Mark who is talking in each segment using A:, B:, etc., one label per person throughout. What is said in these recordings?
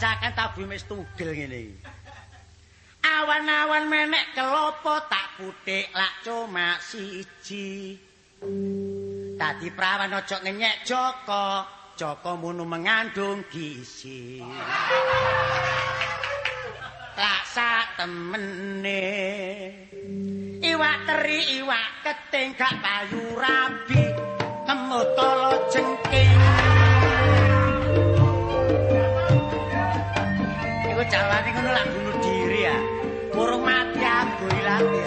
A: Abim wis tugel ngene iki. Awan-awan menek kelopo tak putik lak cuma siji. Dadi prawan aja ngenyek Joko. Joko munu mengandung gizi. Lak sak temene. Iwak teri, iwak keting gak payu rabi. Nemu tolo jengking. Iku jalane ngono lak bunuh diri ya. Burung mati aku ilate.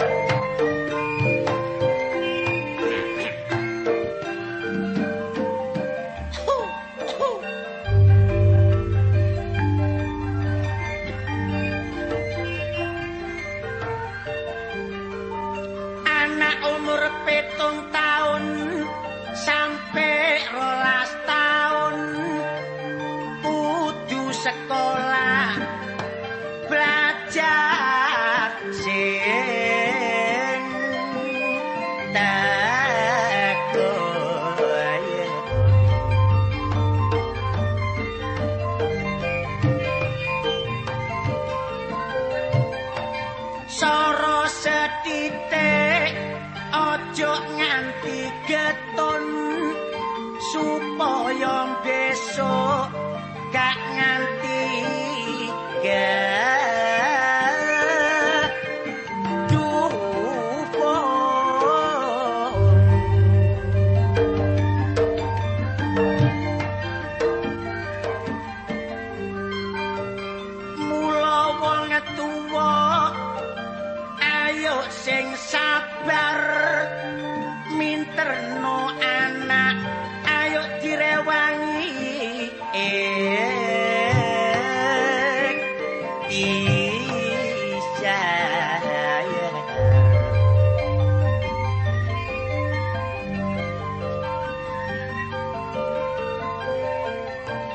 A: Anak umur pitung tahun sampai rolas tahun kudu sekolah belajar sing tekun Soro setitik ojo nganti getun supaya besok gak nganti gedupon. Mula wong tuwa ayo sing sabar minterno anak ayo direwangi ek Isaya.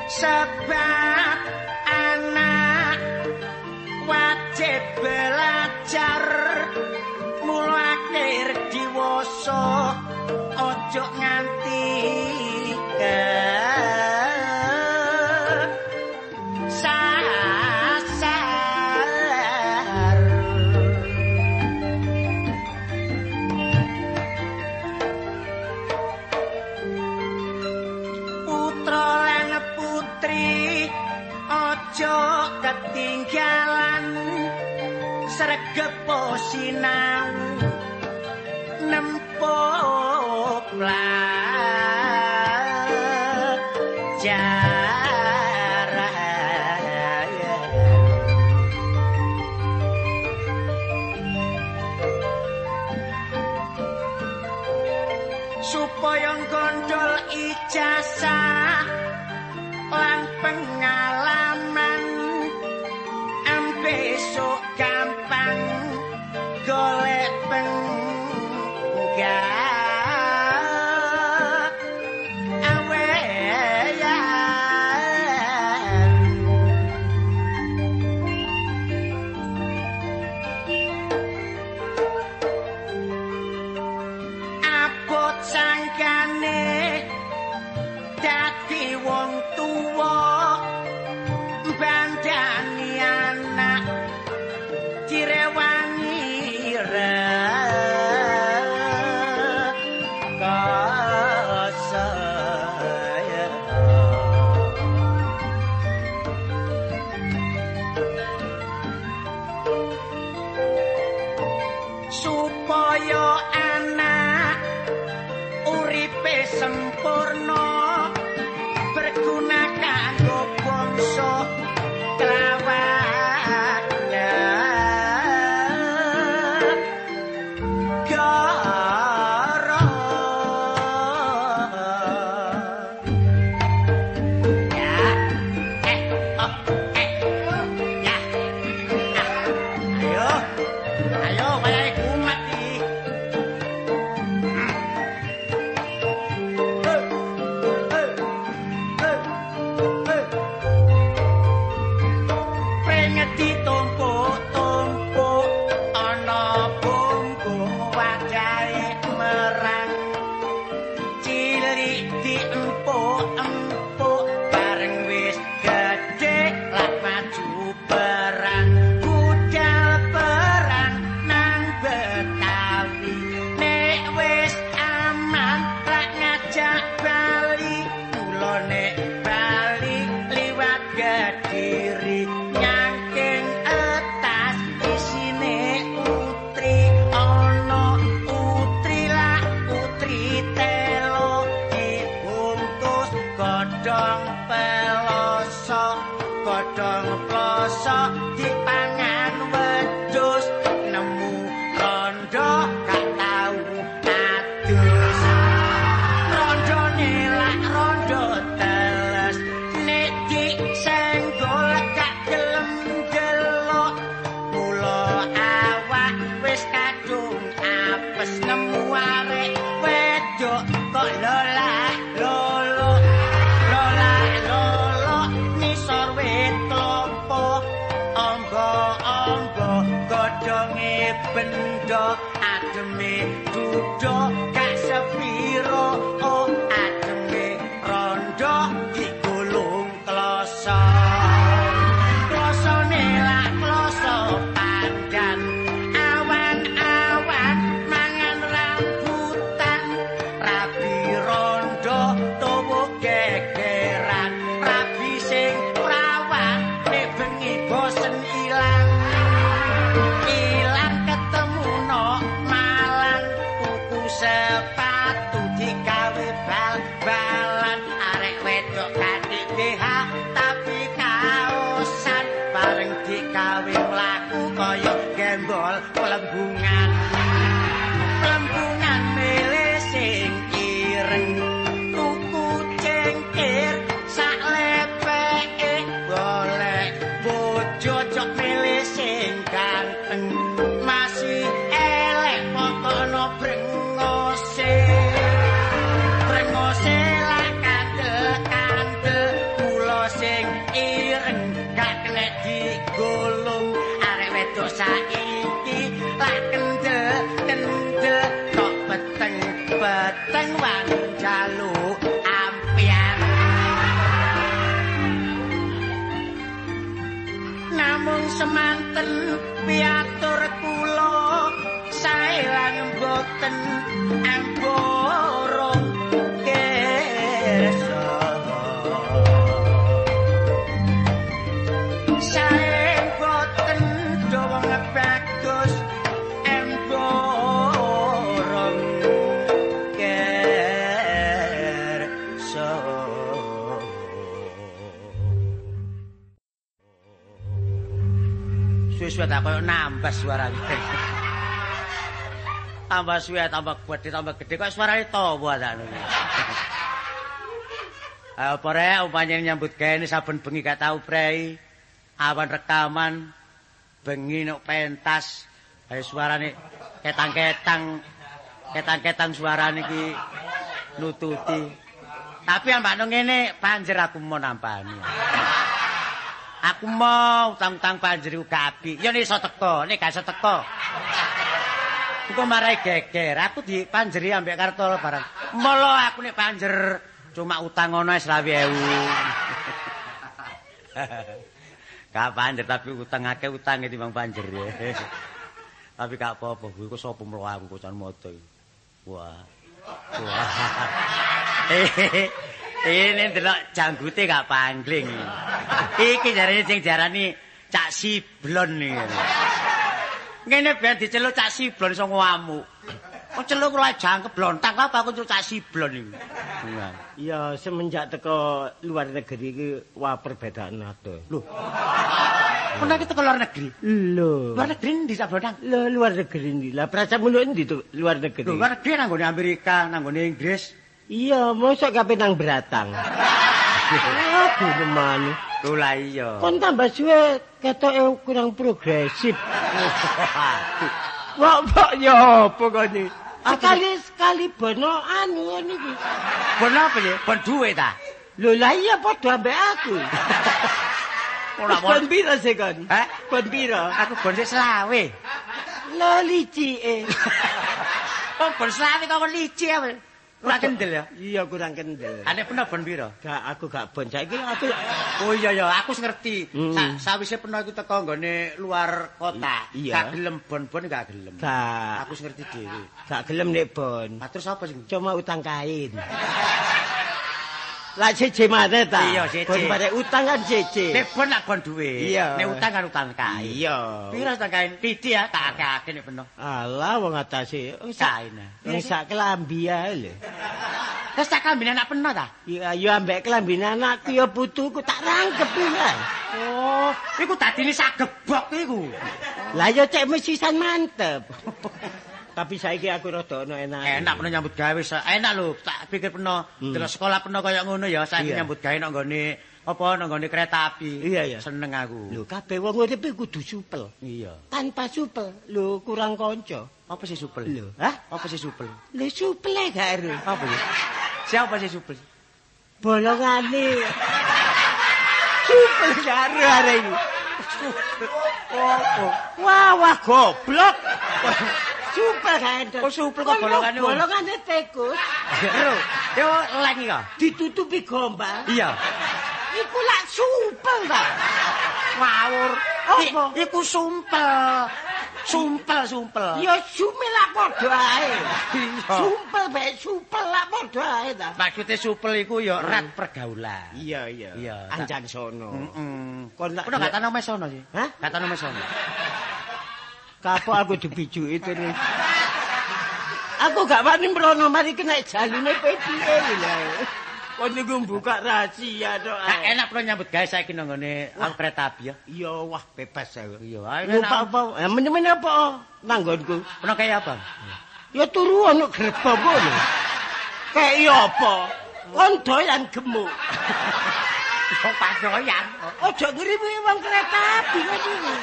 A: sebab anak wajib belajar mula akhir diwasa ojo nganti ke sasar putra lan putri ojo ketinggalan sregep sinau nempok pelajaran supaya gondol ijazah lan pengalaman Am besok gampang golek penggal awean abot sangkane dadi wong tuwa bandani anak eh, oh, Oh, sepatu digawe bal-balan arek wedok kadhik BH tapi kaosan bareng digawe mlaku kaya gembol pelembungan pelembungan mele sing ireng tuku cengkir sak lepeke golek bojo cok mele sing ganteng masih elek pokono brengose brengose lah kandel kandel kula sing ireng gak kena digulung arek wedok saiki lah kendel kendel kok peteng peteng wani jaluk ampian namung semanten piatur kula saelan boten amborong kersa sae boten dawa ngebagus emborong kersa suwe-suwe tak koyo nambah suarane. tambah suwe tambah gede tambah gede kok suarane tawa ta ngono. Ayo pare umpamane nyambut gawe ini saben bengi gak tau prei. Awan rekaman bengi nok pentas ayo suarane ketang-ketang ketang-ketang suarane iki nututi. Tapi ambakno ngene panjer aku mau nampani. Aku mau utang-utang panjeri uga api. Ya nek iso teko, nek gak iso teko. Iku marai geger. Aku di panjeri ambek kartol barang. Molo aku nek panjer cuma utang ngono wis 20.000. gak panjer tapi utang akeh utange timbang panjer. tapi gak apa-apa, kuwi kok sapa mlo aku kocan moto. iki. Wah. Wah. Ini delok janggute gak pangling. Iki jarane sing diarani cak siblon iki. Ngene ben diceluk cak siblon iso ngamuk. Kok celuk ora jangkep blontak apa aku celuk cak siblon iki. Iya.
B: Ya semenjak teko luar negeri iki wah perbedaan ada. Lho,
A: Pernah kita ke luar negeri.
B: lho.
A: Luar negeri ndi sak blontak?
B: Lho luar negeri ndi? Lah prasamuno ndi to luar
A: Lho,
B: negeri?
A: luar negeri nanggone Amerika, nanggone Inggris.
B: Iya, mosok kape nang beratang. Aduh, teman.
A: Lho lah iya.
B: Kon tambah suwe ketoke kurang progresif. Wah, kok ya apa kon iki? Sekali sekali bono anu ngono iki.
A: Bon apa ya? Bon duwe ta?
B: Lho lah iya padha ambek aku.
A: Ora
B: Kon
A: bon.
B: pira sih kon?
A: Hah?
B: Kon pira?
A: Aku bon sik selawe.
B: Lho licike.
A: Kok bon selawe Oh, kok licik apa? Ora kendel ya.
B: Iya kurang kendel.
A: Ane pernah bon pira?
B: Gak aku gak bon saiki aku
A: Oh iya ya, aku wis ngerti.
B: Hmm.
A: Sa sawise peno iku teko nggone luar kota,
B: I- iya.
A: gak gelem bon-bon gak gelem.
B: gak Hmm.
A: Aku wis ngerti dhewe.
B: gak gelem nek bon.
A: Nah terus apa sing?
B: Cuma utang kain. Lah siji maneh ta.
A: Iya, siji.
B: Bon barek utang kan siji.
A: Nek bon nak bon duwe.
B: Iya.
A: Nek utang kan utang kae.
B: Iya.
A: Pira utang kae? Pithi ya tak akeh-akeh nek peno.
B: Alah wong atase wong
A: Kain.
B: sak-
A: ah.
B: wong sak kelambi ae lho.
A: Terus tak kambine anak peno ta?
B: Ya ya ambek kelambi anakku ya putuku tak rangkep ya.
A: Oh, iku dadine sak gebok iku.
B: Lah ya cek mesisan mantep. Tapi saiki aku rada ono enak.
A: Enak peno nyambut gawe, sa- enak lho. Tak pikir peno terus sekolah peno kaya ngono ya, saiki
B: Hmm. Iya.
A: nyambut gawe nang nggone apa nang nggone kereta api.
B: Iya, iya.
A: Seneng aku.
B: Lho kabeh wong urip iku kudu supel.
A: Iya.
B: Tanpa supel lho kurang kanca.
A: Apa sih supel?
B: Lho, hah?
A: Apa sih supel?
B: Lho supel ae gak ero.
A: Apa ya? Siapa sih supel?
B: Bolongane. Supel gak ero arek iki.
A: Apa?
B: Wah, wah goblok. Supel gak ero.
A: Kok supel kok bolongane, Om?
B: Bolongane tikus
A: Ero, yo leng iki kok.
B: ditutupi gombal.
A: Iya.
B: Iku lak supel ta.
A: Ngawur.
B: Apa?
A: I- Iku sumpel. Sumpel, sumpel.
B: Ya sume lak padha ae.
A: Iya.
B: Supel bae supel lak padha ae ta.
A: Maksudnya supel iku yo rat pergaulan.
B: Hmm. Iya, iya.
A: Iya.
B: Anjang sono.
A: Heeh.
B: Kon lak-
A: Udah kata nama sono sih.
B: Hah?
A: Kata nama sono.
B: Kapok aku dibiju itu nih. Aku gak wani mrono mari kena jalune piye lho. Kon niku buka rahasia ah. tok.
A: Nah, enak pro nyambut gawe saiki nang nggone aku kereta api ya.
B: Iya wah bebas aku.
A: Iya, ayo
B: Lupa
A: enak.
B: apa? Eh, Menyemen apa? Nanggonku.
A: Ono kaya apa?
B: Ya turu ana gerbang kono. Kayak iya apa? Kon doyan gemuk.
A: Kok pasoyan.
B: Ojo ngriwi wong kereta api kok iki.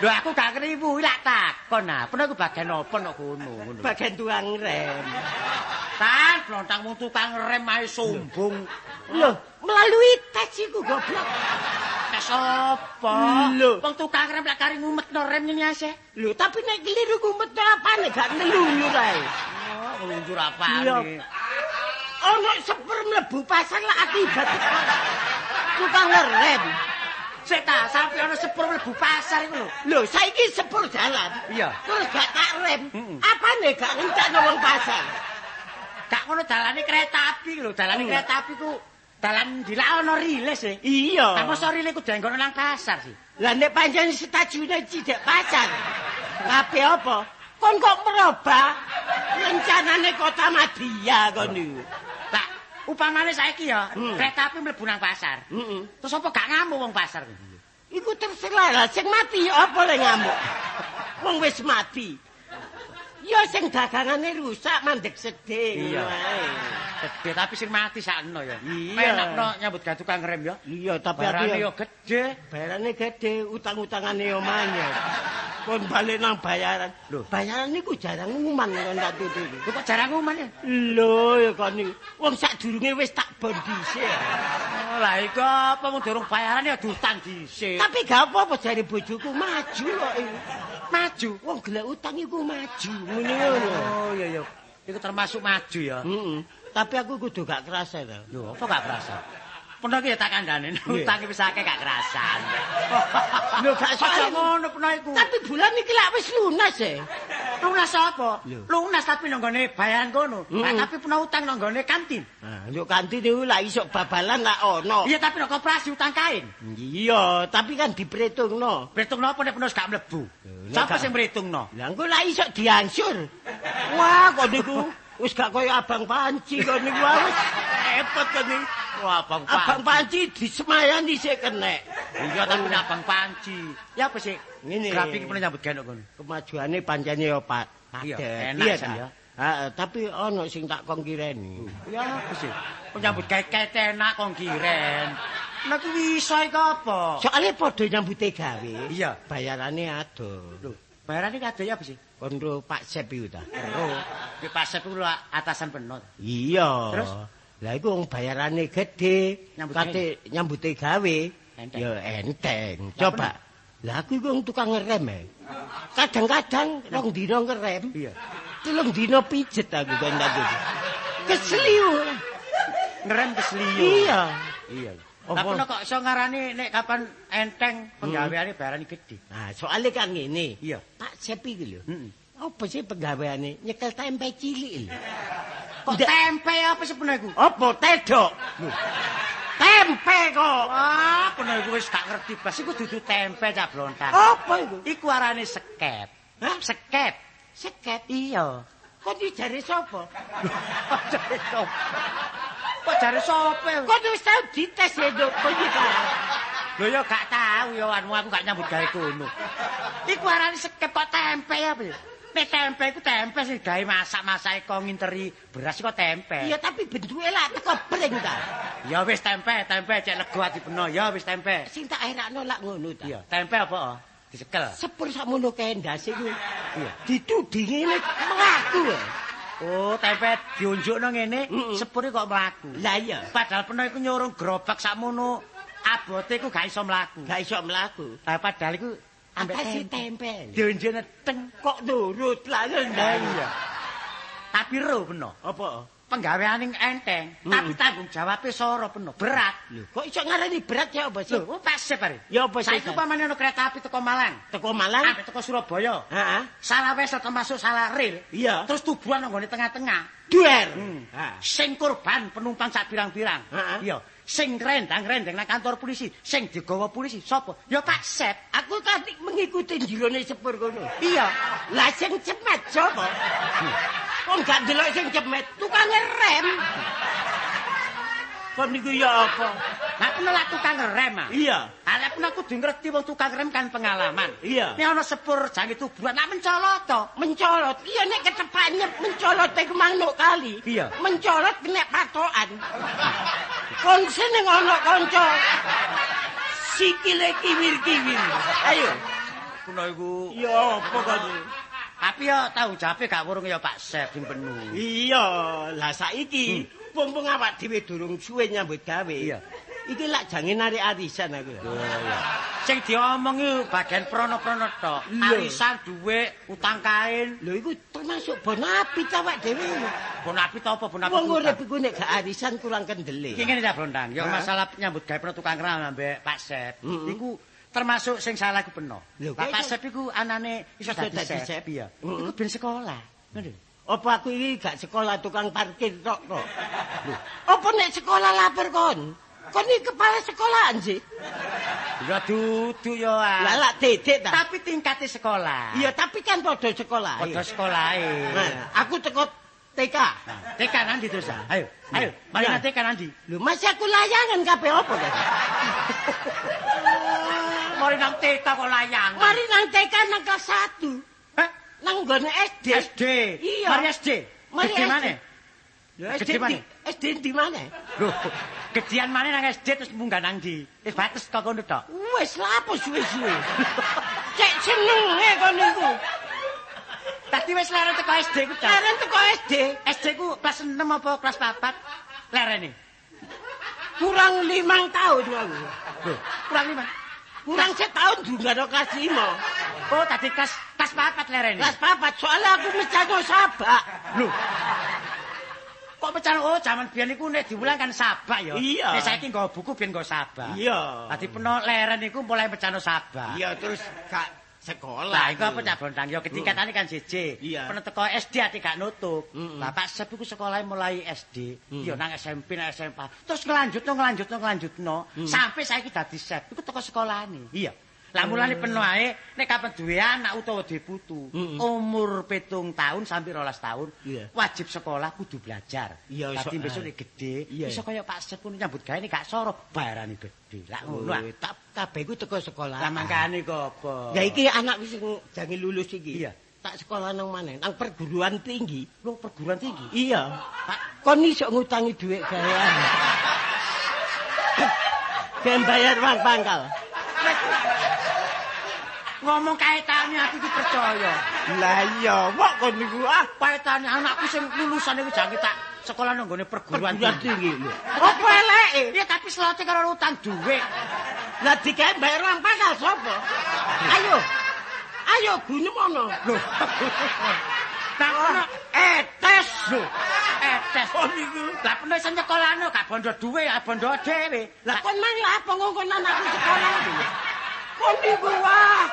A: Lho aku gak kriwu lak takon ah. Peno iku bagian apa nok kono ngono.
B: Bagian tuang rem.
A: Tan blontangmu tukang rem ae sombong.
B: Loh, melalui tes iku goblok.
A: Tes apa?
B: Lho.
A: Wong tukang rem lak kari ngumetno rem ngene asih.
B: Lho, tapi nek keliru kumet apa nek gak nelulur ae.
A: Oh, ngeluncur
B: Iya.
A: apane?
B: Ono seper mlebu pasar lah akibat tukang ngerem.
A: Sik ta, sampe ono sepur mlebu pasar iku lho.
B: Lho, saiki sepur jalan.
A: Iya.
B: Terus gak tak rem.
A: Mm-mm.
B: Apane gak ngentakno wong pasar?
A: Gak ngono dalane kereta api lho, dalane
B: Hmm.
A: kereta api ku dalan dilak ono rilis e.
B: Iya.
A: Lah mosok rile ku denggono nang pasar sih.
B: Lah nek pancen setajune cidek pasar. Kabeh apa? Kon kok merubah rencanane kota Madia kon niku.
A: Lah upamane saiki ya
B: Hmm.
A: kereta api mlebu nang pasar.
B: Heeh.
A: Terus apa gak ngamuk wong pasar kuwi?
B: Iku terserah lah sing mati ya apa le ngamuk. Wong wis mati. Ya sing dagangane rusak mandek sedih.
A: Iya.
B: wae.
A: Gede tapi sing mati sakno ya.
B: Iya.
A: Penakno nyambut gawe tukang rem ya.
B: Iya tapi aku
A: Barane
B: ya
A: ya gede.
B: barane gede utang-utangane yo manyet. Kon balik nang bayaran.
A: Lho.
B: bayaran niku jarang ngumuman kon tak tutupi.
A: Lho kok jarang ngoman ya?
B: Lho ya kon niku. Wong sadurunge wis tak bon dhisik.
A: Oh, Lah iku apa mung durung bayaran ya diutang dhisik.
B: Tapi gak apa-apa jare bojoku maju kok iki.
A: Maju.
B: Wong gelek utang iku maju. Ngene ngono.
A: Oh iya iya. Iku termasuk maju ya.
B: Heeh. Tapi aku kudu gak kerasa to.
A: Lho apa gak kerasa? Peno iki ya tak kandhane utang wis akeh gak kerasan.
B: Lho, gak soal
A: Aja
B: iku.
A: ngono peno iku.
B: Tapi bulan iki lak wis lunas e.
A: Lunas apa?
B: Lho.
A: Lunas tapi nang nggone bayaran kono. Lah
B: Mm-mm.
A: tapi peno utang nang nggone kantin.
B: Nah, yo kanti niku lak isok babalan lak ono.
A: Ah. Iya tapi nang koperasi utang kain.
B: Iya, tapi kan diperhitungno.
A: Perhitung napa nek penuh gak mlebu?
B: nek
A: Sapa
B: gak-
A: sing perhitungno?
B: Lah engko lak isok diangsur. Wah, kok niku wis gak koyo abang panci kok niku wah, wis repot kok niku.
A: Wah, Bang
B: Abang
A: Pan.
B: panci disemayani sik kenek.
A: Iya tapi nek Bang Panci. Ya apa sih?
B: Ngene.
A: Grafik penuh nyambut gawe kono.
B: Kemajuane pancen yo Pak.
A: Iya,
B: padet.
A: enak
B: Iya,
A: sih,
B: Kak.
A: ya.
B: Heeh, tapi ono sing tak kongkireni.
A: Ya apa sih? Penuh nyambut gawe kete enak kong kiren. Nek kuwi iso iku apa?
B: Soale padha nyambute gawe.
A: Iya.
B: Bayarane adoh.
A: Lho, bayarane kadhe ya apa sih?
B: Kondo Pak Sep iku ta.
A: Oh, di pasar kuwi atasan penuh.
B: Iya.
A: Terus?
B: Lah iku wong bayarane gedhe,
A: Nyambut
B: kate nyambute gawe.
A: Enteng.
B: Ya enteng. Coba.
A: bener.
B: Lah aku iku wong tukang ngerem ae. Kadang-kadang wong dina ngerem.
A: Iya.
B: Telung dina pijet aku kan aku. Kesliu.
A: Ngerem kesliyo.
B: Iya.
A: Iya.
B: Apa?
A: Tapi nek kok iso ngarani nek kapan enteng penggaweane bayarane gedhe.
B: Nah, soalnya kan ngene.
A: Iya.
B: Pak Sep iki lho.
A: Heeh.
B: Apa sih penggaweane? Nyekel tempe cilik lho.
A: Kok
B: Ndak-
A: tempe apa sih penuh iku?
B: Apa tedok? Tempe kok.
A: Ah, kono iku wis gak ngerti blas iku dudu tempe cah blontang.
B: Apa iku?
A: Iku arane sekep.
B: Oh. Hah?
A: Sekep.
B: Seket.
A: Iya.
B: Kok dijari sapa?
A: Kok jare sop. Kok jare sope?
B: Kok wis tau dites ya nduk iki kan.
A: Lho ya gak tahu ya anmu aku gak nyambut gawe kono. Iku arane sekep kok tempe apa ya? Nek tempe iku tempe sing gawe masak-masak e, kok nginteri beras kok tempe.
B: Ya tapi bentuke lak teko bring ta.
A: Ya wis tempe, tempe cek lego ati beno. Ya wis tempe.
B: Sing tak erakno lak ngono ta.
A: Iya, tempe apa? oh? Disekel.
B: Sepur sakmono kendhas iku.
A: Iya.
B: Ditudhi ngene mlaku. ya.
A: Oh, tempe diunjukno ngene,
B: Mm-mm.
A: sepure kok mlaku.
B: Lah iya,
A: Padahal peno iku nyurung gerobak sakmono abote iku gak iso mlaku.
B: gak iso mlaku.
A: Lah padahal iku ambek
B: Apa sih
A: tempe.
B: tempel?
A: Diunjukne teng
B: Kok nurut lah
A: Lah
B: ngendang.
A: iya. Tapi ro peno,
B: Apa?
A: penggaweane enteng,
B: Mm-mm.
A: tapi tanggung jawabe soro peno, berat.
B: Hmm. Lho, kok iso ngarani berat ya apa sih?
A: Lho, oh, pas separe.
B: Ya apa sih?
A: Saiki upamane ono kereta api teko Malang,
B: Teko Malang.
A: ambek teko Surabaya.
B: Heeh.
A: Salah wes termasuk salah ril.
B: Iya.
A: Terus tubuhan nang nggone tengah-tengah.
B: Duer.
A: Hmm.
B: Ha.
A: Sing korban penumpang sak pirang-pirang.
B: Heeh.
A: Iya. Sing rendang-rendang nang kantor polisi, sing digawa polisi sapa? Ya Pak Sep.
B: Aku tadi mengikuti jirone sepur kono.
A: Iya.
B: Lah sing cepat sapa? Kon gak delok sing jemet, tukang rem. Kon niku ya apa?
A: Nek nolak tukang rem. ah.
B: Iya.
A: Arep aku kudu ngerti wong tukang rem kan pengalaman.
B: Iya.
A: Nek ana sepur jange tubruan nak mencolot to.
B: Mencolot. Iya nek ketepannya mencolot iku manuk kali.
A: Iya.
B: Mencolot kena patokan. Kon seneng ana kanca. Sikile kiwir-kiwir. Ayo.
A: Kuno iku.
B: Ya apa kon?
A: Tapi ya tanggung jawabe gak wurung ya Pak Sep sing penuh.
B: Iya, lah saiki mumpung awak dhewe durung suwe nyambut gawe.
A: Iya.
B: Iki lak jange narik arisan aku.
A: Sing diomongi bagian prono-prono tok.
B: Iya.
A: Arisan dhuwit, utang kain,
B: Lho iku termasuk bon apit awak dhewe.
A: bonapi to apa bonapi.
B: Wong urip iku nek gak arisan kurang kendele.
A: Iki ngene ta Brondang, ya
B: Hah?
A: masalah nyambut gawe peno tukang rem ambek Pak Sep.
B: Mm-mm.
A: Iku termasuk sing salah iku peno.
B: Lho,
A: Pak
B: kaya-
A: Pak Sep iku anane iso
B: Iso
A: dadi
B: dadi Sep.
A: Sep ya.
B: Mm-mm.
A: Iku ben sekolah. Ngono.
B: Apa aku iki gak sekolah tukang parkir tok kok. Lho, apa nek sekolah lapor kon? Kon iki kepala sekolahan sih.
A: Ya dudu ya. ah.
B: Lah lak dedek ta.
A: Tapi tingkate sekolah.
B: Iya, tapi kan padha sekolah.
A: Padha sekolahe.
B: Nah, aku teko TK.
A: Nah, tekan Andi terus. ah. Ayo, ayo. Mari
B: Iya.
A: nanti tekan Andi.
B: Lho, masih aku layangan kabeh apa ta?
A: Mari nang teka kok layang.
B: Mari nang TK nang kelas 1.
A: Hah?
B: Nang gone SD.
A: SD.
B: Iya.
A: Mari SD.
B: Mari
A: Gede
B: SD.
A: mana?
B: Lho,
A: Gede
B: SD di,
A: mana?
B: SD di mana?
A: Loh, gedean mana nang SD terus munggah nang ndi? Wis bates kok ngono tok.
B: Wis lapo suwe-suwe. Cek senenge kon niku.
A: Tadi wis leren teko SD ku tok.
B: Karen teko SD
A: SD ku kelas 6 apa kelas 4? Lerene.
B: kurang limang tahun aku.
A: Loh, kurang lima.
B: Kurang setahun juga no kelas lima.
A: Oh, tadi kelas kelas 4 lerene.
B: Kelas papat soalnya aku mecago sabak.
A: Loh. Kok pecan oh zaman biyen iku nek diulang kan sabak ya.
B: Iya.
A: Nek saiki nggo buku biyen nggo sabak.
B: Iya.
A: Dadi peno leren iku mulai pecano sabak.
B: Iya terus gak sekolah.
A: Lah iku apa Cak Bontang? Ya ketingkatane kan siji.
B: Iya.
A: Peno teko SD ati gak nutup.
B: Mm-mm.
A: Lah Pak Sep iku sekolahe mulai SD, ya nang SMP nang SMA. Terus ngelanjutno ngelanjutno ngelanjutno sampai saiki dadi Sep. Iku teko sekolahane. Iya. Lah mulane peno ae nek kapan duwe anak utawa duwe putu,
B: Mm-mm.
A: umur pitung tahun sampai rolas tahun
B: Iya.
A: wajib sekolah kudu belajar.
B: Iya,
A: Dadi
B: iso
A: besok
B: ae.
A: nek gede
B: Iya.
A: iso kaya Pak Sep pun nyambut gawe nek gak soro barani gede. Lah ngono. ah.
B: tak kabeh ku teko sekolah.
A: Lah mangkane kok apa?
B: Ya iki anak wis jange lulus iki.
A: Iya.
B: Tak sekolah nang mana? Nang perguruan tinggi.
A: lu perguruan tinggi.
B: Iya. Kon iso ngutangi dhuwit gawean. Ben bayar uang pangkal.
A: ngomong kaitane aku iki percaya.
B: Lah iya, wak kon niku ah.
A: Kaitane anakku sing lulusan iku jangan tak sekolah nang nggone perguruan
B: Perguruan
A: tinggi.
B: tinggi lho. Apa eleke?
A: Iya tapi selote karo utang dhuwit.
B: Lah dikae bayar uang pangkal sapa? Ayo. Ayo gunung ono.
A: Lho. Nang
B: Oh.
A: kono
B: etes.
A: lho. Etes.
B: Oh, niku.
A: Lah peno iso nyekolano gak bondo dhuwit, gak bondo dhewe.
B: Lah kon mang lah apa ngongkon anakku sekolah iki? Kon niku wah.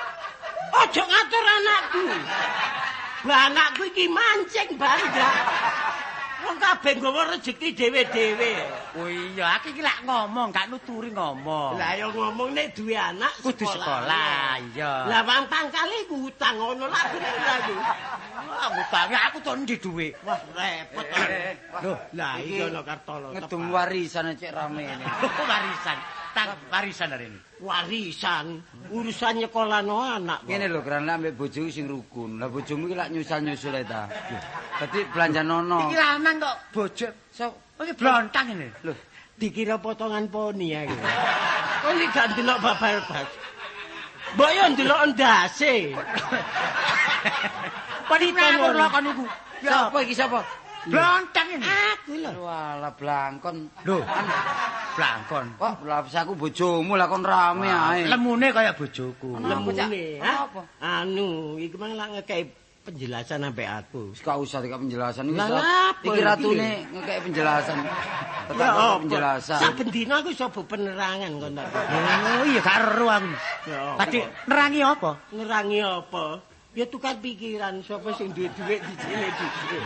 B: Ojo ngatur anakku. Lah anakku iki mancing bangga. Wong kabeh nggawa rejeki dhewe-dhewe.
A: Oh iya, aku iki lak ngomong, gak nuturi ngomong.
B: Lah ya ngomong nek duwe anak
A: Kudu sekolah, iya.
B: Lah wong pangkale iku utang ngono lah bener aku.
A: Lah ngutangi Ah, aku tuh ndi dhuwit.
B: Wah repot.
A: Lho,
B: Lah iki ono kartolo.
C: Ngedung warisan aja rame ini.
A: warisan. Tang warisan hari ini.
B: warisan, urusan nyekolah no anak. kok.
C: Ngene lho kerana ambek bojoku sing rukun. Lah bojomu iki lak nyusul-nyusul ae ta. Dadi belanja nono.
B: Oh.
A: Iki lanang kok bojo. So, iki blontang ini.
C: Lho,
B: dikira potongan poni ya. Kok iki gak ndelok babar bas. Mbok yo ndelok ndase.
A: Pelita
B: Pelita
A: aku
B: ngono.
A: lakon iku. Ya
C: sapa iki sapa?
A: blontang ini.
B: Aku lho.
C: Walah blangkon.
A: Lho, blangkon.
C: Kok laps aku bojomu lah kon rame ae.
A: Lemune kaya bojoku.
C: Lem- Apa, Cak?
B: Lemune.
C: Apa?
B: ah. Anu, iku mang lak ngekei penjelasan ambek aku.
C: Wis gak usah dikak penjelasan iki.
B: Lah,
C: Ustaz.
B: apa
C: Iki
B: iki?
C: ratune ngekek penjelasan. Tetap
B: apa?
C: penjelasan.
B: Saben dina aku iso penerangan kon tak.
A: Oh iya karo aku.
B: Ya apa?
A: Tadi nerangi apa?
B: Nerangi apa? Ya tukar pikiran sapa sing duwe dhuwit dicile-dicile.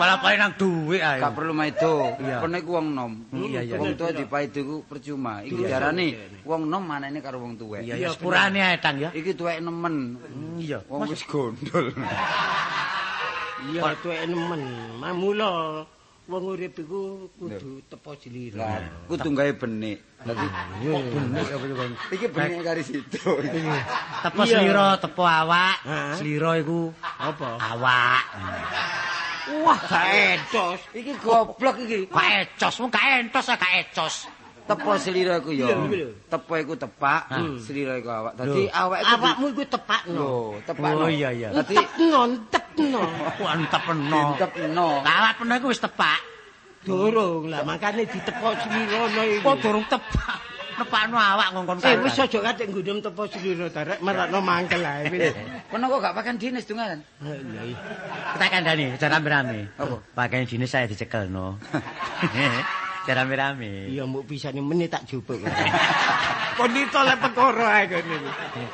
A: Balapane nang dhuwit ae.
C: Gak perlu maido.
A: Iya.
C: Kene ku wong nom.
A: Iya, iya.
C: Wong tuwa dipaido ku percuma.
A: Iya.
C: Iki diarani wong nom manene karo wong tuwek.
A: Iya, Hmm.
B: Iya,
A: ya sepurane ae tang ya.
C: Iki tuwek nemen.
A: Iya.
C: Wong wis gondol.
B: Iya tuwek nemen. Mamula wong urip iku kudu tepo jlira.
C: Lah, kudu gawe benik. Dadi benik apa ya? Iki benik kari situ.
A: Tepo
B: Iya.
A: slira, tepo awak.
B: Heeh.
A: Slira iku
B: Apa?
A: awak.
B: Wah, gak edos.
C: Iki goblok iki.
A: Gak ecos, wong gak entos ah, gak ecos.
C: Tepo selira iku ya.
B: Iya, iya.
C: Tepo iku tepak, selira iku awak. Dadi awak iku
B: Awakmu iku tepakno.
C: lho, tepak.
A: Oh, iya, iya.
C: Dadi
B: Tekno, tekno.
A: Aku antepeno.
C: ditepno.
A: Lawat peno iku wis tepak.
B: Dorong lah makane ditepok slirane
A: Kok
B: iki.
A: durung tepak. Tepakno awak ngongkon
B: Eh wis aja katik nggunem tepo slira darek merakno mangkel ae. wis.
C: Kono kok gak pakan dinas dungan.
B: Ah, Iya. iya.
A: Kita kandani, cara rame-rame.
C: Apa?
A: Pakaian jenis saya dicekel, no. Cara rame-rame.
B: Iya mbok pisane meneh tak jupuk. Kondito lek perkara ae kene.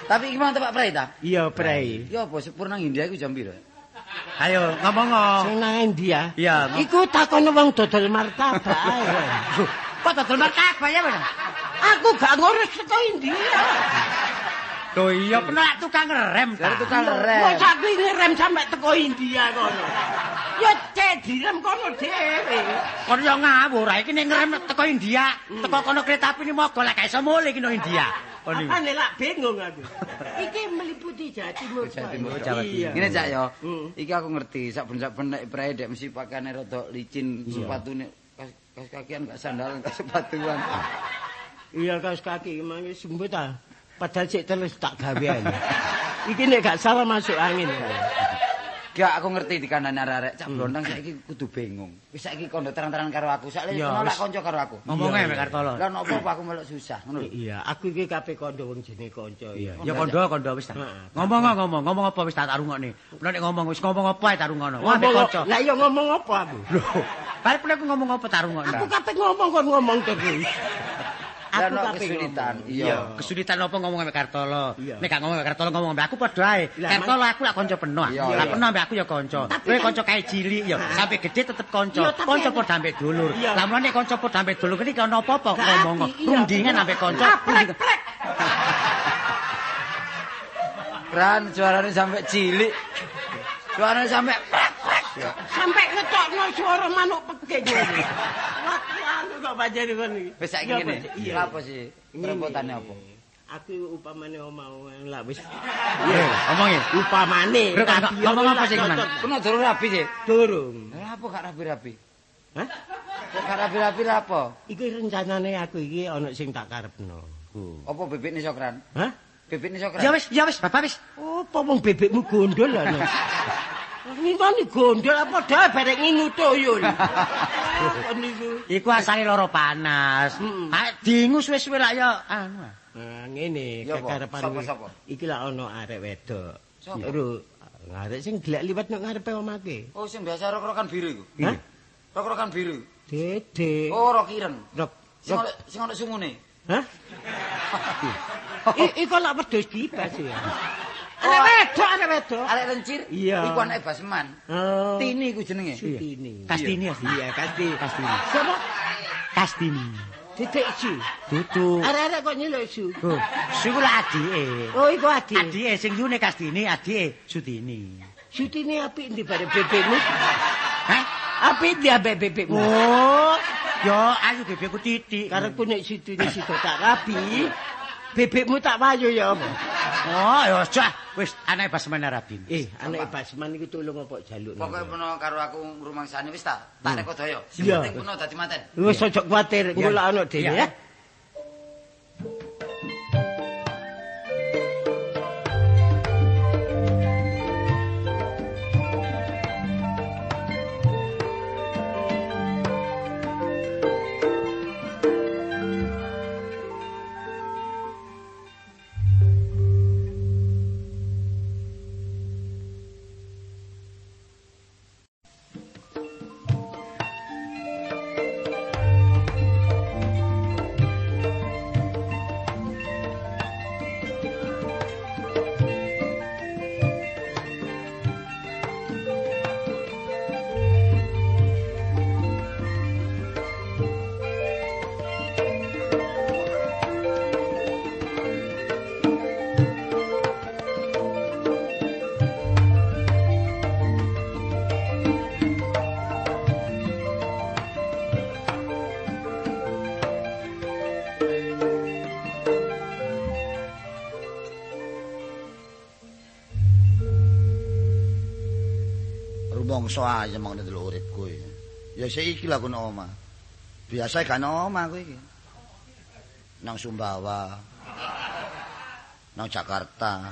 C: Tapi iki mau tepak prai ta?
B: Iya, Prei.
C: Ya apa sepurna nang India iku jam pira?
A: Ayo, ngomong ngomong.
B: Sing nang India.
A: Iya.
B: Iku takon wong dodol martabak ae. Ren.
A: Kok dodol martabak ya, Mas?
B: Aku gak ngurus saka India.
A: Loh iya, penak tukang rem ta.
C: Dari tukang rem.
B: Kok aku ngerem sampe teko India kono. Ya cek direm kono dhewe.
A: Kon yo ngawur, ah, iki nek ngerem teko India, teko kono kereta api ni mogol lah gak iso mule iki no India.
C: Oh,
A: Kon iki.
B: Apane lak bingung aku. Iki meliputi Jatimur.
C: Jawa Timur,
B: Pak.
C: Jawa
B: Iya.
C: Timur. Ngene cak ya.
B: Hmm.
C: Iki aku ngerti, saben-saben nek prai dek mesti pakane rada licin, sepatune kas- kas kakian gak sandalan gak sepatuan.
B: Iya kaos kaki mang wis sembuh ta. Padahal sik terus tak gawe ae. Iki nek gak salah masuk angin.
C: Gak aku ngerti di kanan arek-arek
B: Hmm.
C: cak blontang saiki kudu bingung. Wis saiki kondo terang-terangan karo aku, sakle
A: Iya,
C: nolak
A: wis.
C: kanca karo aku.
A: Ngomongnya mek Kartolo.
C: Lah nopo apa aku melok susah, ngono lho.
B: Iya, aku iki kabeh kanca wong jenenge kanca. Iya.
A: Ya kondo kondo wis ta.
B: Heeh.
A: Ngomong kok, ngomong, ngomong apa wis tak tak rungokne. Nek nek ngomong wis ngomong apa ae tak rungokno. Wah, mek kanca.
B: Lah iya ngomong apa aku?
A: Loh, karep nek aku ngomong apa tak rungokno.
B: Aku kabeh ngomong kon ngomong terus.
C: Lah
B: Aku
C: no
B: kabeh
C: kesulitan.
B: ngomong.
C: Iya.
A: Kesulitan apa ngomong mek Kartolo?
B: Iya.
A: Nek gak ngomong mek Kartolo ngomong mek aku padha ae.
B: Lah,
A: Kartolo aku lak kanca peno. ah.
C: Iya,
A: Lah
C: iya.
A: peno mek aku ya kanca.
B: Tapi
A: Kowe
B: kan-
A: kanca kae cilik ya, sampai gede tetep kanca.
B: Iya, tapi-
A: Kanca padha ambek dulur.
B: Iya.
A: Lah mulane kanca padha ambek dulur kene iki ana apa-apa
B: Gak
A: ngomong.
B: ati, iya,
A: Rundingan
B: bener.
A: ambek kanca.
B: Ah, plek, plek.
C: Ran suarane sampe cilik. Suarane sampe prek prek.
B: Sampai ngetokno suara manuk peking. Wah, aku kok banjari kon iki.
C: Wis saiki
B: Iya,
C: ngene.
B: Pak. Iya.
C: Apa sih?
B: Ngene.
C: Perempotane apa?
B: Aku upamane omah lah wis.
A: Iya, ngomongin.
B: Upamane.
A: Bro, kok-
B: tapi
A: ngomong
B: ora
A: apa sih, Giman?
B: cocok.
C: Kuwi durung rapi sih.
B: Durung.
C: Lah apa gak rapi-rapi?
B: Hah?
C: Kok gak rapi-rapi lah apa?
B: Iki rencanane aku iki ana sing tak karepno.
A: Oh.
C: Apa bebek ni sokran?
B: Hah?
C: Bebek ni sokran.
A: Ya wis, ya wis, Bapak wis.
B: Apa wong bebekmu gondol lho. Ngimani gondol apa dae barek nginutoyo. Apa niku?
A: Iku asale loro panas.
B: Mm-mm.
A: Ah, Dingu suwe-suwe lak ya anu. ah.
B: Nah, ngene
C: Ya apa?
B: kekarepan
C: Sapa,
B: kuwi.
C: sapa?
B: iki lak ana arek wedok.
C: Sapa?
B: Ru arek sing gelek liwat nang ngarepe omake.
C: Oh sing biasa rok-rokan biru iku.
B: Hah?
C: Rok-rokan biru.
B: Dede.
C: Oh rok ireng.
B: Rok.
C: Sing
B: Rok.
C: ono sing ono sungune.
B: Hah? I- Iku lak wedhus kibas ya. Oh. Arek wedok, arek wedok.
C: Arek rencir.
B: Iya.
C: Iku anake Basman.
B: Oh.
C: Tini iku jenenge.
B: Sutini.
A: Kastini ya.
B: Iya, kasti.
A: Kastini.
B: Sapa?
A: Kastini.
B: Titik Ju.
A: Dudu.
B: Arek-arek kok nyeluk Ju.
A: Go. Siku lak adike.
B: Oh, iku adi.
A: Adike sing yune Kastini, adike Sutini.
B: Sutini apik ndi bare bebekmu?
A: Hah?
B: Apik ndi ambek bebekmu?
A: Oh, ya ayu bebekku titik.
B: Karepku nek Sutini sida tak rabi, bebekmu tak wayu ya apa?
A: Oh, ya aja. Wis anake Basmana Rabin.
B: Eh, anak Basman iku tulung apa jaluk.
C: Pokoke peno karo aku ngrumangsani wis ta. Tak rek daya. Sing
B: Iya.
C: penting kuno dadi maten.
B: Wis aja kuwatir, engko lak ana dhewe
A: Iya.
B: ya.
C: mongso ayem mong ndelok uripku iki. Ya sik iki lho aku nang omah. Biasa gak nang omah aku iki. Nang Sumbawa. Nang Jakarta.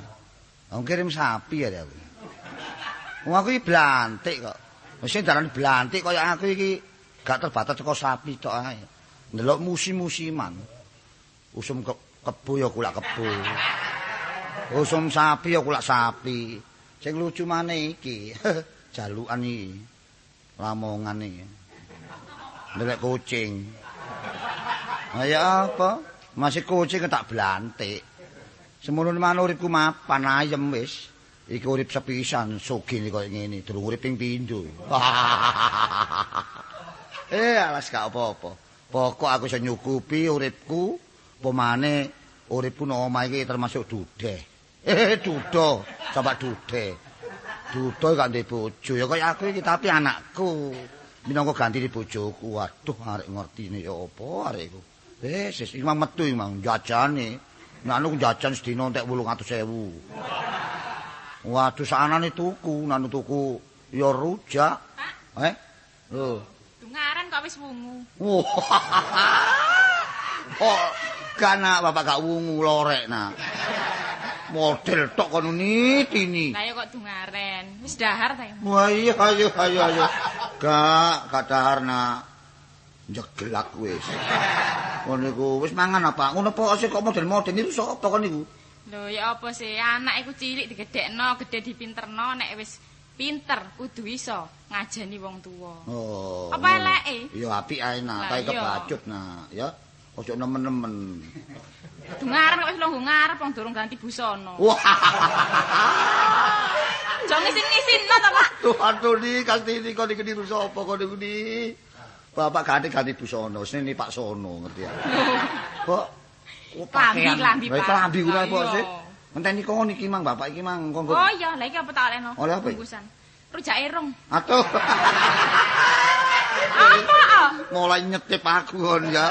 C: Aku kirim sapi ya aku. Wong aku iki blantik kok. Wis darani blantik kaya aku iki gak terbatas teko sapi tok ae. Ndelok musim-musiman. Usum ke kebo ya kulak kebo. Usum sapi ya kulak sapi. Sing lucu maneh iki. Jalukan iki. Lamongan iki. Ndelok kucing. Lah ya apa? Masih kucing tak blantik. Semono manut uripku mapan ayem wis. Iki urip sepisan sugih kaya ngene, durung urip ping pindho. eh alas gak apa-apa. Pokok aku iso nyukupi uripku, pemane uripku nang omah iki termasuk dudeh. Eh dudo, coba dudeh. Dudo gak duwe bojo ya kaya aku iki tapi anakku. Minangka gantine bojoku. Waduh arek ngertine ya apa arek iku. Wis wis iki mang metu iki mang jajane. Nek anu jajan sedina entek 800.000. Waduh sanane tuku, nanu tuku ya rujak. Eh? Lho.
D: Dungaran kok wis wungu.
C: Wah. Oh, kana bapak gak wungu lorek nak. Model tok kono nitini.
D: Lah ya kok dungaren. Wis dahar ta. ya?
C: Wah iya ayo ayo ayo. Gak kadahar nak. Njeglak wis. Ngono iku wis mangan apa? Ngono apa sih kok model-model niku sapa kon niku?
D: Lho ya apa sih anak iku cilik digedhekno, gedhe dipinterno nek wis pinter kudu iso ngajeni wong tuwa.
C: Oh. ngono.
D: Apa eleke?
C: Ya apik ae nak,
D: Lah,
C: tapi
D: iya.
C: kebacut nak, ya. Ojo nemen-nemen.
D: Dungaran kok wis lungguh ngarep wong durung ganti busana.
C: Wah.
D: Njo ngisin-ngisinno ta, Pak?
C: Tuh aduh ni kasti ni kok dikeniru sapa kok niku ni. Bapak ganti ganti busana, sini Pak Sono ngerti ya. Kok kok
D: Klambi,
C: pakaian-
D: klambi,
C: Lah,
D: Pak.
C: Klambi kuwi
D: Lah,
C: apa
D: iya.
C: sih? Ngenteni kon iki mang bapak iki mang kon.
D: Oh iya, lha iki apa tak olehno?
C: Oleh apa ya?
D: Bungkusan. Rujake rung.
C: Atuh.
D: Apa? ah?
C: Mulai nyetip aku kon ya.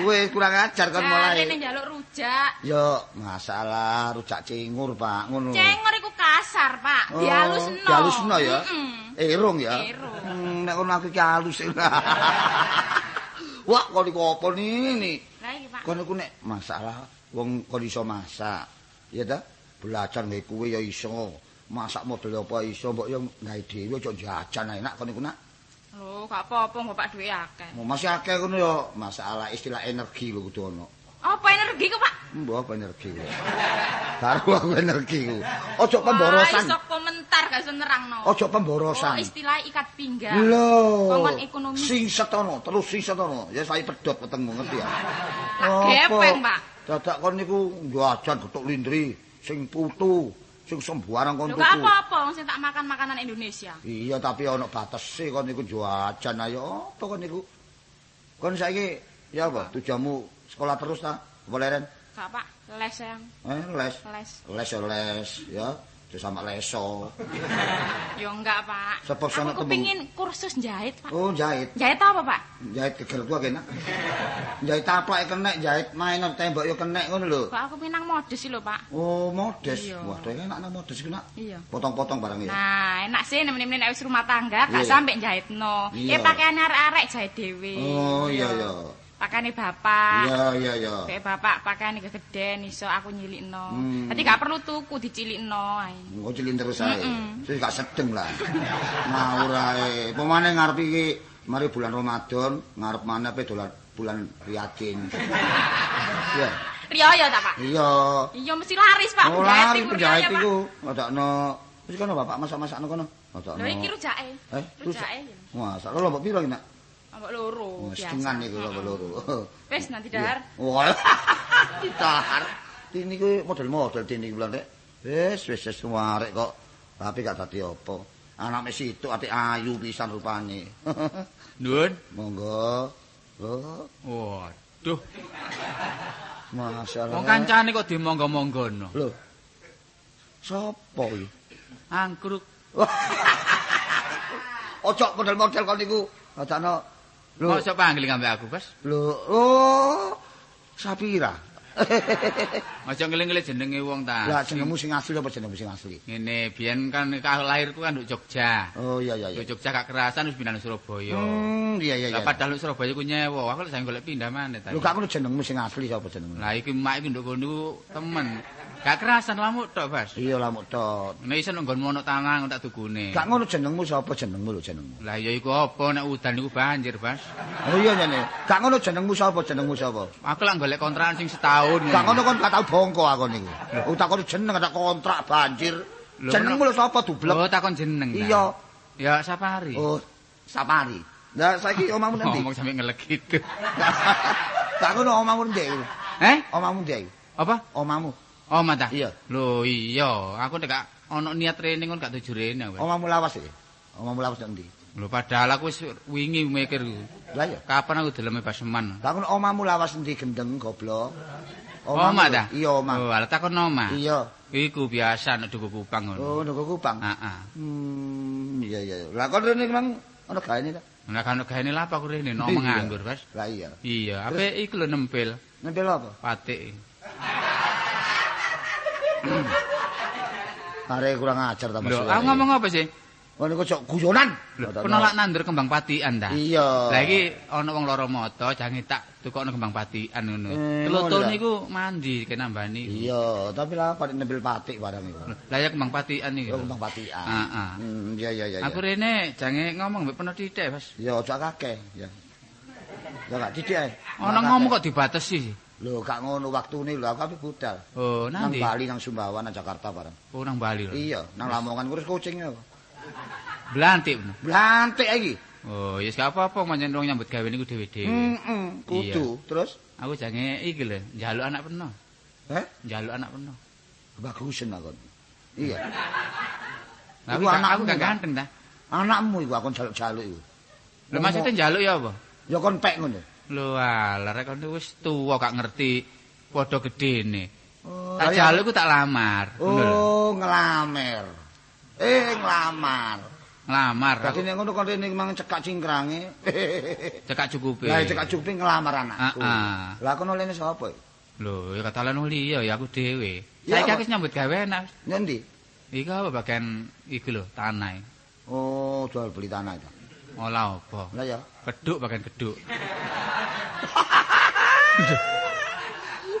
C: Kowe kurang ajar kon
D: Lah
C: mulai.
D: rene njaluk rujak.
C: Yo, masalah rujak cingur, Pak, ngono.
D: Cengor iku kasar, Pak.
C: Hmm. Oh,
D: Dialusno.
C: Dialusno ya.
D: Mm-mm.
C: Erung ya.
D: Erung.
C: Hmm, nek ono aku iki halus. Wah, kok niku apa nini?
D: Lah iki, Pak.
C: Kono ku nek masalah wong kon iso masak. Ya ta? Belajar nggae kuwe ya iso. Masak model apa iso, mbok yo nggae dhewe aja jajan ae, nak kono ku nak.
D: Lho, gak apa-apa, Bapak duwe akeh.
C: Mau Masih akeh kono yo masalah istilah energi lho kudu ono.
D: Apa energi ku, Pak?
C: Mbok apa energi kuwi? Karo aku energi ku. Ojo
D: Wah,
C: pemborosan.
D: iso komentar gak iso nerangno.
C: Ojo pemborosan.
D: Oh, istilah ikat pinggang.
C: Lho.
D: Kongkon ekonomi.
C: Sing setono, terus sing setono. Ya saya pedot ketemu ngerti ya.
D: Tak gepeng, Pak.
C: Dadak kon niku jajan getuk lindri, sing putu, sing sembarang kon
D: Lho,
C: tuku.
D: gak apa-apa, wong sing tak makan makanan Indonesia.
C: Iya, tapi ana batese kon niku jajan ayo apa kon niku. Kon saiki ya apa tujamu sekolah terus ta? Apa leren?
D: Gak, Pak. Les, sayang.
C: Eh, les.
D: Les.
C: Les ya les ya. Terus sama leso.
D: Yo enggak, Pak.
C: Sepos sama
D: Aku
C: temu.
D: kepingin kursus jahit, Pak.
C: Oh, jahit.
D: Jahit apa, Pak?
C: Jahit geger gua kena. Jahit taplak kena, jahit mainan tembok yo kena ngono lho.
D: Kok aku pinang modus sih lho, Pak.
C: Oh, modest.
D: Iya.
C: Wah, dia enak nang modest ku nak.
D: Iya.
C: Potong-potong barang ya.
D: Nah, enak sih nemen-nemen nek wis rumah tangga gak
C: Iya.
D: sampe jahitno.
C: Iya.
D: Ya pakaian arek-arek jahit dhewe.
C: Oh, iya ya.
D: Pakane bapak.
C: Iya, iya ya.
D: Kayak bapak pakaian gede iso aku nyilikno.
C: Hmm.
D: Dadi gak perlu tuku dicilikno ae.
C: Engko cilin Oh, terus ae.
D: Mm-mm.
C: Wis gak sedeng lah. Ngawur ae. Pemane ngarep iki mari bulan Ramadan, ngarep maneh pe dolan bulan Riyadin. Iya.
D: Riyo ta, Pak?
C: Iya.
D: Iya mesti laris, Pak.
C: Oh,
D: Penjahit
C: lari
D: iku
C: penjahit
D: riyo, Pak.
C: iku. Ngadakno. Wis kono bapak masak-masakno kono. Ngadakno.
D: Lho iki rujake.
C: Eh, rujak.
D: Rujake.
C: Wah, sak lho mbok piro iki nak?
D: Ambek
C: Oh,
D: loro. biasa.
C: Sedungan iku lho
D: Mm-mm.
C: loro.
D: Wis nanti dahar.
C: Wah. Dahar. Tini kuwi model-model tini kuwi Rek. Wis wis wis warek kok. Tapi gak dadi apa. Anake situ ati ayu pisan rupane.
E: Nuwun.
C: Monggo. Lho,
E: Waduh,
C: masalah.
E: wong kancane kok dimonggo-monggono.
C: Lho. Sopo iki?
E: Angkruk.
C: Ojo model-model kon niku. Adakno. Lho,
E: Mosok pangling ambek aku, Bas?
C: lho, oh. Sapira.
E: Aja ngeling-ngeling jenenge wong
C: Lah
E: ta.
C: jenengmu sing asli apa jenengmu sing asli?
E: Ngene, biyen kan kah lahirku kan nduk Jogja.
C: Oh iya iya iya.
E: Nduk Jogja gak kerasan wis pindah nang Surabaya.
C: Hmm iya iya iya.
E: Lah padahal nduk Surabaya ku nyewa, aku lek saiki golek pindah maneh ta.
C: Lu gak ngono jenengmu sing asli sapa jenengmu?
E: Lah iki mak iki nduk kono iku temen. Gak kerasan lamuk tok, Bas.
C: Iya lah muk tot.
E: Nek isen nggonmu ono tanah tak dugune.
C: Gak ngono jenengmu sapa jenengmu lho jenengmu.
E: Lah ya iku apa nek udan iku banjir, Bas.
C: Oh iya nyene. Gak ngono jenengmu sapa jenengmu sapa?
E: Aku lak golek kontrakan sing setahun.
C: Gak ngono kon gak tau bongko aku niku. Utak kono jeneng ada kontrak banjir.
E: Lho,
C: Jenengmu lho sapa dublek?
E: Oh, takon jeneng. ta?
C: Iya.
E: Ya Sapari.
C: Oh Sapari. Lah saiki omahmu nanti.
E: Ngomong sampe ngelek gitu.
C: Gak ngono omahmu ndek. iku.
E: Eh?
C: Omahmu ndek. iku.
E: Apa?
C: Omahmu.
E: Oh, mata.
C: Iya.
E: Lho, iya. Aku nek gak ono niat training kon gak tuju rene aku.
C: Omahmu lawas iki. Omahmu lawas ndek ndi?
E: Lho padahal aku wis wingi mikir iku.
C: Lah iya.
E: Kapan aku deleme Baseman?
C: Lah ngono omahmu lawas ndi gendeng goblok.
E: Oh,
C: Omahmu-
E: mata.
C: Iya omah.
E: Oh, ala takon oma.
C: Iya.
E: Iku biasa nek duku kupang ngono.
C: Oh nunggu kupang.
E: Heeh.
C: Hmm, iya iya. Lah kon rene mang ana gaene ta?
E: Nek kan gaene lha apa aku rene no
C: Iya.
E: nganggur, Bas.
C: Lah iya.
E: Iya, ape iku lho nempel
C: Nempel apa?
E: patik.
C: Are kurang ajar ta Mas.
E: Lho, aku ngomong apa sih?
C: Oh niku cok guyonan.
E: Lho,
C: Kata-
E: penolak nandur kembang patian ta.
C: Iya.
E: Lah iki ana wong lara mata jange tak tukokno kembang patian ngono.
C: Eh,
E: Telotone
C: ngono ta?
E: niku mandi kenambani.
C: Iya, tapi lah pada nempel patik barang iku.
E: Lah ya kembang patian iki.
C: Yo kembang patikan.
E: Heeh.
C: Hmm, iya iya iya.
E: Ah. Aku
C: iya.
E: rene jange ngomong mbek penuh titik, Mas.
C: Ya aja kakek, ya. Ya gak didik ae.
E: Ana ngomong kok dibatesi.
C: Lho gak ngono waktune lho aku ape budal.
E: Oh,
C: Nang
E: nanti.
C: Bali nang Sumbawa nang Jakarta barang.
E: Oh, nang Bali lho.
C: Iya, nang Lamongan kurus kucing ya.
E: Blantik. bener.
C: Blantik iki.
E: Oh, ya gak apa-apa manjen wong nyambut gawe niku dhewe-dhewe.
C: Heeh, kudu. Terus?
E: Aku jange iki lho, njaluk anak peno.
C: Heh?
E: Njaluk anak peno.
C: Bagusen aku. Iya.
E: Lah
C: Iku
E: aku gak-
C: anakmu
E: aku gak
C: gak?
E: ganteng ta.
C: Anakmu iku aku jaluk-jaluk iku.
E: Lho maksudnya njaluk ya apa?
C: Ya kon pek ngono.
E: Lho alah rek kon wis tuwa gak ngerti padha gedene.
C: Oh,
E: Tak jaluk ku tak lamar. Ngono lho.
C: Oh, ngelamer. Eh, nglamar.
E: Lamar.
C: Dadi
E: Aku
C: nek ngono kon rene mang cekak cingkrange.
E: cekak cukupe.
C: Lah cekak cupi ngelamar anakku.
E: Ah,
C: Lah kono lene sapa? iki?
E: Lho, ya kata lan uli ya, ya aku dhewe.
C: Ya, apa?
E: Saiki aku wis nyambut gawe enak.
C: Nek ndi?
E: Iku apa bagian iku lho, tanah.
C: Oh, jual beli tanah itu.
E: Ola apa?
C: Lah ya.
E: Keduk bagian keduk.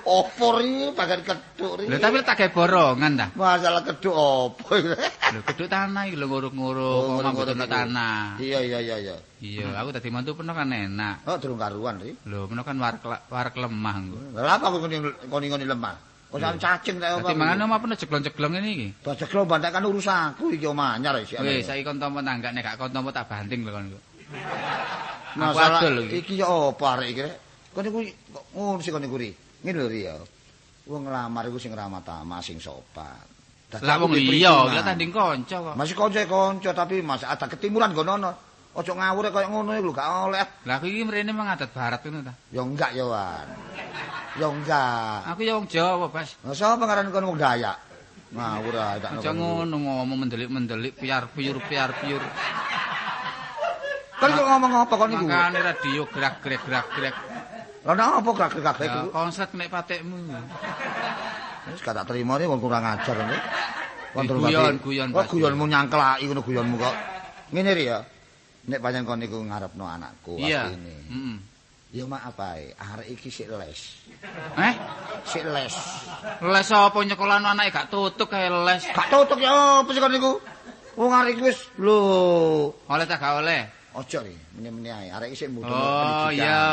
C: Opor iki bagian keduk iki.
E: Lho, tapi tak gawe borongan ta.
C: masalah keduk opo iki?
E: Lho, keduk tanah iki lho nguruk-nguruk,
C: Oh,
E: omah
C: ngono-ngono
E: butuh
C: iku.
E: tanah.
C: Iya, iya, iya, iya.
E: Iya, aku tadi mantu peno kan enak.
C: Oh, durung karuan iki.
E: Lho, peno kan warak warak lemah nggo.
C: Lah apa kok ngoni-ngoni lemah? Kok sampe cacing tak apa?
E: Dadi mangan omah peno ceglon-ceglon ngene iki.
C: Bajak lo bantakan urusanku iki omah anyar iki.
E: Wis, saiki kon tampa tangga nek gak kon tampa tak banting lho kon. nggo. Aku
C: masalah
E: adol iki.
C: iki ya apa arek iki? rek? Kok niku kok ngono sih kok niku ri. Ngene lho ri ya. Wong nglamar iku sing ramah tamah, sing sopan. Dadi
E: Lah
C: aku
E: wong
C: diberi
E: liya,
C: iman.
E: kita tanding kanca kok.
C: Masih kanca-kanca tapi mas ada ketimuran gono-ono. Ojo ngawur kaya ngono iku lho gak oleh.
E: Lah aku iki mrene mengadat barat ngono ta.
C: Ya enggak ya, Wan. Ya enggak.
E: Aku ya wong Jawa, Bas.
C: Lah sapa ngaran kon wong Dayak? Ngawur ae tak
E: Aja ngono ngomong mendelik-mendelik piar-piur piar-piur.
C: Kon kok ngomong apa kon niku?
E: Makane radio gerak-gerak gerak-gerak.
C: Lah nang apa gak-gak
E: Ya,
C: iku?
E: Konslet nek patekmu.
C: Wis gak tak terima nih, wong kurang ajar nih. Kon
E: Eh,
C: terus
E: guyon,
C: tapi-
E: guyon,
C: Oh,
E: Pak.
C: guyonmu nyangkelaki ngono guyonmu kok. Ngene ri ya. Nek pancen kon niku ngarepno anakku
E: Iya.
C: ini.
E: Heeh.
C: Ya maaf ae, arek iki sik les.
E: Eh,
C: Sik les.
E: les apa nyekolan anake gak tutup kae les.
C: Gak tutuk ya apa sih kon niku? Wong arek iki wis lho.
E: Oleh tak gak oleh.
C: Ojo ri, menye-menye ae. Arek iki sik mbutuh
E: Oh
C: pendidikan,
E: iya.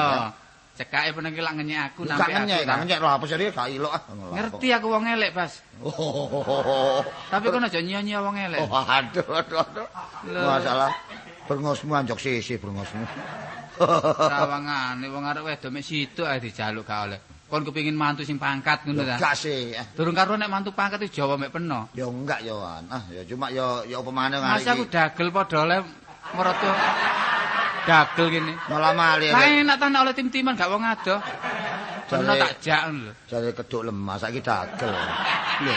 E: Cekake peneng lak ngenyek aku
C: ya. Gak
E: nampi aku.
C: ngenyek, gak
E: ta.
C: ngenyek lho apa sih ri gak ilok ah.
E: Ngerti aku wong elek, Bas.
F: Oh,
E: Tapi kono aja nyanyi wong elek.
C: Oh, aduh, aduh, aduh.
E: Loh.
C: Masalah brengosmu anjok sisi brengosmu.
E: Sawangane wong arek wedo mek situ ae dijaluk gak oleh. Kon kepengin mantu sing pangkat ngono ta.
C: Enggak sih. eh.
E: Durung karo nek mantu pangkat itu Jawa mek peno.
C: Ya enggak ya, Wan. Ah, ya cuma ya ya apa maneh ngarep
E: Masa aku dagel padha oleh meroto dagel kene.
C: malah mali.
E: Lah enak ta nek oleh tim-timan gak wong adoh. Peno tak jak ngono lho.
C: Jare keduk lemah saiki dagel.
E: Lho,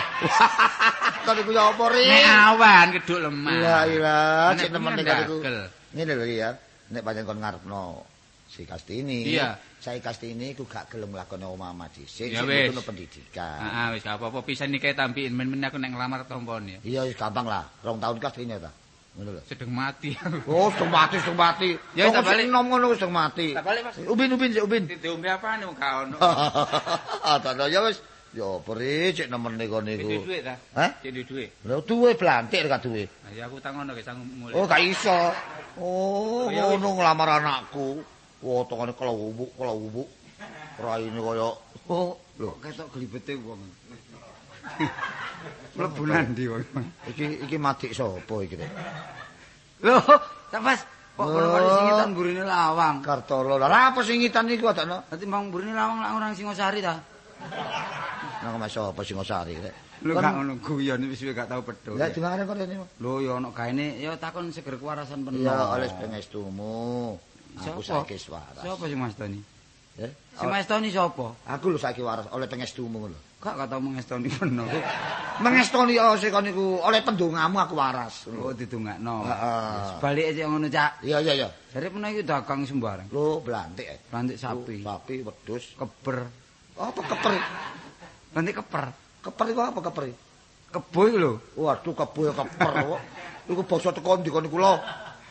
C: Kok iku ya apa ri?
E: nek awan keduk lemah.
C: Lah ilah,
E: Nek
C: cek
E: kuwi
C: temen nek
E: kan
C: iku.
E: dagel.
C: Ngene lho ya, nek pancen kon ngarepno
F: Si Kastini.
E: Iya.
F: Saya Kastini iku gak gelem nglakoni omah-omah dhisik.
E: Ya
F: sing
E: wis.
F: nglakoni pendidikan.
E: Heeh, wis gak apa-apa pisan iki tambikin men-men aku nek nglamar tompon ya.
F: Iya wis gampang lah. Rong tahun Kastini ta. Ngono lho.
E: Sedeng mati aku.
F: Oh, sudah mati, sudah mati.
E: Ya,
F: Wong
E: tak
F: sing
E: balik.
F: Nom ngono sudah mati.
E: Tak balik, Mas.
F: Ubin, ubin, sik ubin. Ah,
E: Diombe apane wong gak ono.
C: Oh.
F: Tak ada ya wis. Yo, peri cek nemen niku niku.
E: Duwe duit ta?
F: Hah?
E: Cek duwe duit.
F: Lho duwe blantik gak duwe.
E: Nah, ya aku tangono ge sang mulih.
F: Oh, gak iso. Oh,
E: Ya, wis.
F: ngono nglamar anakku. Wotongane kelawubuk, kelawubuk. Raine kaya oh, lho,
C: Ketok glibete wong. Mlebu nandi wong.
F: iki iki madik sapa iki? Rek?
C: Lho, tak pas. Kok kono-kono sing ngitan burine lawang.
F: Kartolo. Lah apa sing ngitan niku adakno?
C: Nanti mang burine lawang lak orang Singosari ta.
F: Nang omahe sapa Singosari rek.
C: Lho
F: Kon-
C: gak ngono guyon wis wis gak tau pedho.
F: Lah dimangane kok rene.
C: Lho ya ono gaene ya takon seger kewarasan penuh.
F: Ya oleh pengestumu. Aku
C: Sapa?
F: saiki waras.
C: Sapa sing mastoni?
F: Eh?
C: Sing mastoni sapa?
F: Aku lho saiki waras oleh pengestumu lho.
C: Kok gak tau mengestoni penuh.
F: Mengestoni ya sik kon niku oleh pendongamu aku waras.
C: Oh didongakno.
F: Heeh.
C: Sebalike sik ngono Cak.
F: Iya iya iya.
C: Jare penuh iku dagang sembarang.
F: Lho blantik eh.
C: Rantik sapi,
F: Sapi wedhus.
C: keber.
F: Apa keper?
C: Rantik keper.
F: Keper iku apa keper?
C: Kebo iku lho.
F: Waduh kebo ya keper kok. Iku basa teko ndi kon niku lho.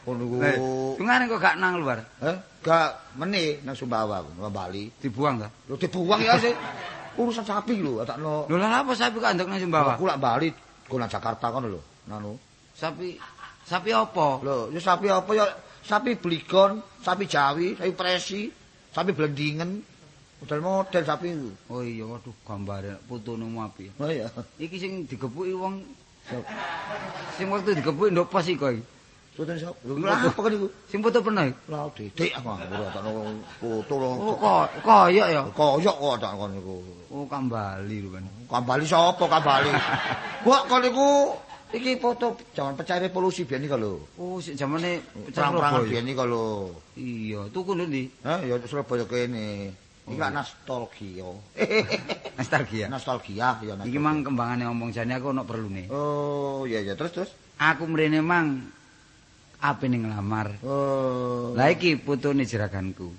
F: Ngono iku.
C: Lho, dengar kok gak nang luar.
F: Eh, gak meni nang Sumbawa aku, nang Bali.
C: Dibuang ta?
F: Lho dibuang ya sih. Urusan sapi lho, takno.
C: Lho lah apa sapi kok ndek nang Sumbawa?
F: Aku lak Bali, aku nang Jakarta kono lho. Nanu.
C: Sapi sapi apa?
F: Lho, ya sapi apa ya? Sapi bligon, sapi jawi, sapi presi, sapi blendingen. Model-model sapi iku.
C: Oh iya waduh gambare putune mu apik.
F: Oh iya.
C: Iki sing digepuki wong sing waktu digepuki ndok pos iki kok iki.
F: Soten sop. Lho lha apa kan iku?
C: Sing foto pernah iki.
F: Lah dedek aku ora takno foto lho.
C: Oh kok koyok ya.
F: Koyok kok tak kon niku.
C: Oh kambali rupane.
F: Kambali sapa kambali? Kok kon niku iki foto jangan pecah revolusi biyen iki lho.
C: Oh sik jamane pecah
F: Perang-perangan
C: Surabaya.
F: biyen iki lho.
C: Iya, tuku ndi?
F: Hah, ya Surabaya kene.
C: Oh,
F: Iki gak nostalgia. Eh,
C: Nostalgia.
F: Nostalgia ya
C: Iki
F: nostalgia.
C: mang kembangane omong jane aku ono perlune.
F: Oh, iya iya terus terus.
C: Aku mrene mang apene nglamar.
F: Oh.
C: Lah iki putune jeraganku.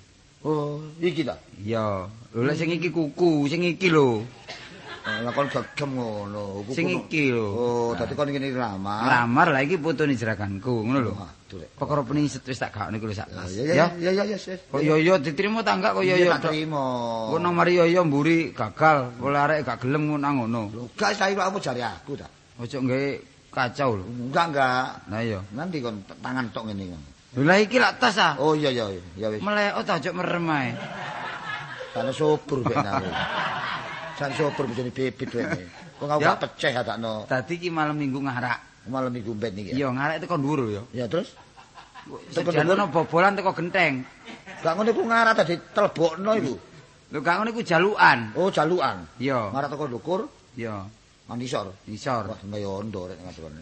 F: Oh, iki ta.
C: Iya, lho lek sing iki kuku, sing iki lho.
F: Eh, Lah kon gegem ngono. Kuku
C: Sing
F: no-
C: iki lho.
F: Oh, dadi kon ngene lama.
C: Nglamar lah iki putune jeraganku, ngono lho.
F: Aduh. Rek.
C: Perkara pening set- wis tak gakne kuwi sak tas.
F: Ah, Ya ya
C: Ya. Oh,
F: ya ya ya. ya.
C: Kok yoyo diterima ta enggak kok
F: Iya,
C: yoyo?
F: tak terima.
C: Kok nomor yoyo mburi gagal, oleh arek gak gelem ngono ngono.
F: Lho, gak saya apa jari aku ta.
C: Ojo nggawe kacau lho.
F: Enggak enggak.
C: Nah iya.
F: Nanti kon t- tangan tok ngene kon.
C: Lho lah iki lak tas ah.
F: Oh iya iya iya. ya wis.
C: Meleot ta ojo merem ae.
F: Tane sopur ben aku. Jan sopur bisa bibit wene. Kok aku
C: Ya.
F: gak pecah adakno
C: Dadi iki malam Minggu ngarak.
F: malam minggu ben iki. ya?
C: Iya, ngarak teko dhuwur ya.
F: Ya terus Teko
C: Sejane ono
F: dhuwur?
C: bobolan teko genteng.
F: gak ngono iku ngarah tadi telebokno iku.
C: Lho gak ngono iku jalukan.
F: Oh jalukan.
C: Hmm. Iya,
F: Ngarah teko Dukur,
C: iya.
F: Mandisor.
C: Isor.
F: Wah, kaya ondo rek ngadone.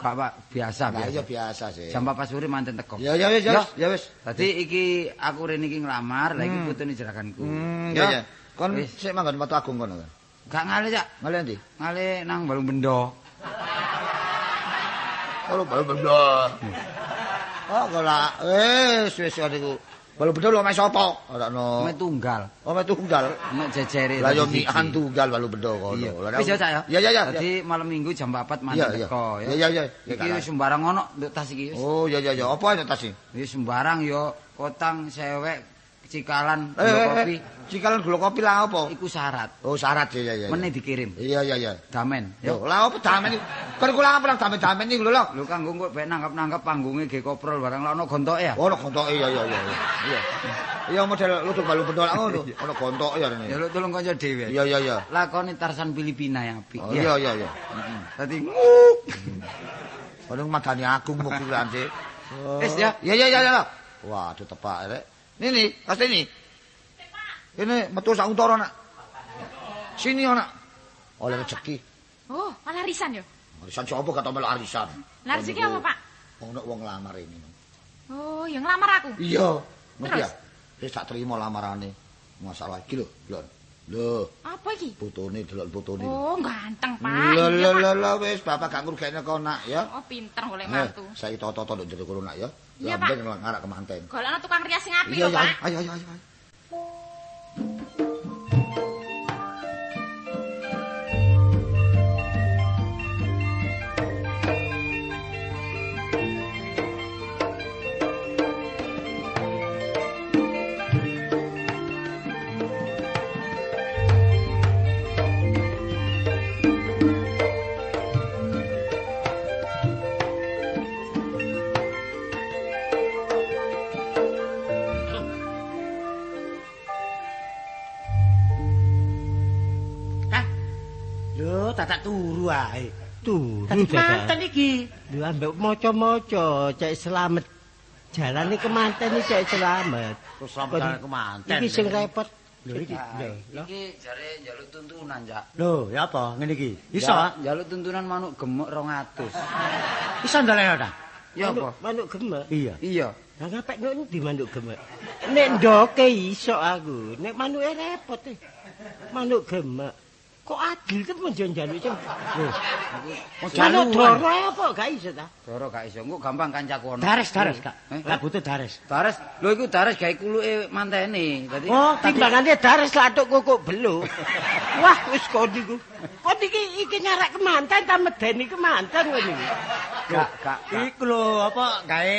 C: Gak Pak, biasa
F: Lah iya
C: biasa.
F: biasa sih.
C: Jam 4 sore manten teko.
F: Ya ya wis ya wis, ya wis. Hmm.
C: Dadi iki aku rene iki nglamar, lha iki putune jeraganku.
F: Ya ya. Kon
C: Wis.
F: sik manggon Watu Agung kono kan.
C: Gak ngale cak,
F: Ngale ndi?
C: ngale nang balung bendo.
F: Kalau balu bendo. Oh, kalau wis wis kon iku. Balu bendo lho mek sapa? Ora ono.
C: Mek tunggal,
F: Oh, mek tunggal.
C: mek jejere.
F: Lah
C: tadi
F: yo
C: siji.
F: mian tunggal balu bendo kono.
C: Iya.
F: Lah,
C: Wis ya cak ya.
F: Ya ya ya.
C: Dadi malam Minggu jam 4
F: Iya,
C: manten
F: iya.
C: teko ya.
F: Ya, ya, ya. Ya,
C: Iki
F: kan.
C: wis sembarang ono nduk tas iki wis.
F: Oh, ya ya ya. Apa ya tas iki?
C: Wis sembarang yo otang sewek cikalan
F: Eh, eh,
C: gula kopi
F: eh. Cikalan gula kopi lah apa?
C: iku syarat.
F: Oh, syarat ya ya ya.
C: Meneh dikirim.
F: Iya Oh. iya iya.
C: Damen.
F: Yo,
C: Yo.
F: lah apa damen iki? Kon kula apa damen-damen iki lho.
C: Lho kanggo kok pek nangkep-nangkep panggunge ge koprol barang lah ono gontoke ya.
F: Ono gontoke ya ya ya. Oh, Iya. Iya model lu balu bendo lak ngono. Ono gontoke ya
C: Ya
F: rene.
C: lho tolong kanca dhewe.
F: Iya iya iya.
C: Lakoni Tarsan Filipina ya apik.
F: Oh, Iya iya iya.
C: Dadi nguk.
F: Ono Oh, madani aku mau kuliah sih.
C: Wis ya.
F: Iya iya iya iya. Wah, itu tepak rek. Nini, pasti ini. Ini metu sak untara nak. Sini oh, ana. Oleh rezeki.
D: Oh, malah risan yo.
F: Arisan sapa kata melu arisan.
D: Lah rezeki apa, Pak?
F: Ono wong lamar ini.
D: Oh, yang lamar aku.
F: Iya. Ngerti ya?
D: Terus?
F: Wis tak terima lamarane. Masalah iki lho, Lon. Lho,
D: Apa iki?
F: putune delok putune.
D: Oh,
F: lho.
D: ganteng, Pak.
F: Lho
D: Iya,
F: lho
D: Pak.
F: lho lho wis bapak gak ngrugekne kok nak ya.
D: Oh, pinter oleh
F: Eh,
D: mantu.
F: saiki tata-tata ndek jero kono nak ya.
D: Iya, Pak.
F: Lambeng ngarak kemanten.
D: Golekno tukang rias sing apik
F: Iya,
D: lho,
F: iya,
D: Pak.
F: ayo, ayo, ayo. ayo.
G: Kang,
A: Lho, tak turu ae.
G: tadi
B: Turu dadak.
G: manten iki.
B: Lha Hmm, ambek maca-maca cek slamet. Jalane kemanten iki cek slamet.
A: Terus sampeyan aku manten.
B: Iki sing repot. Iya.
A: Lho iki. lho, lho.
C: Iki jare njaluk tuntunan, Cak.
A: Lho, ya apa ngene iki? Iso, ah?
C: Ja- Njaluk tuntunan manuk gemuk 200.
A: iso ndolekno ta?
C: Ya
B: Manuk-
C: apa?
B: Manuk gemek.
A: Iya.
C: Iya.
B: Lah ngapik nuk ndi manuk gemek? Nek ndoke iso aku, nek manuke repot e. Manuk gemek. Kok adil kan menjo njaluk sing. Manuk doro apa gak iso ta?
C: Doro gak iso. Engko gampang kancaku ono.
A: Dares, dares, Kak.
C: Eh?
A: Kak butuh dares.
C: Dares, lho iku dares gawe kuluke mantene. Dadi
B: Oh, timbangane dares latuk kok belu. Wah, wis kondi ku. Oh,
G: Kok iki iki nyarak kemanten ta medeni kemanten ngene iki.
C: gak gak gak
A: Iku lho apa gawe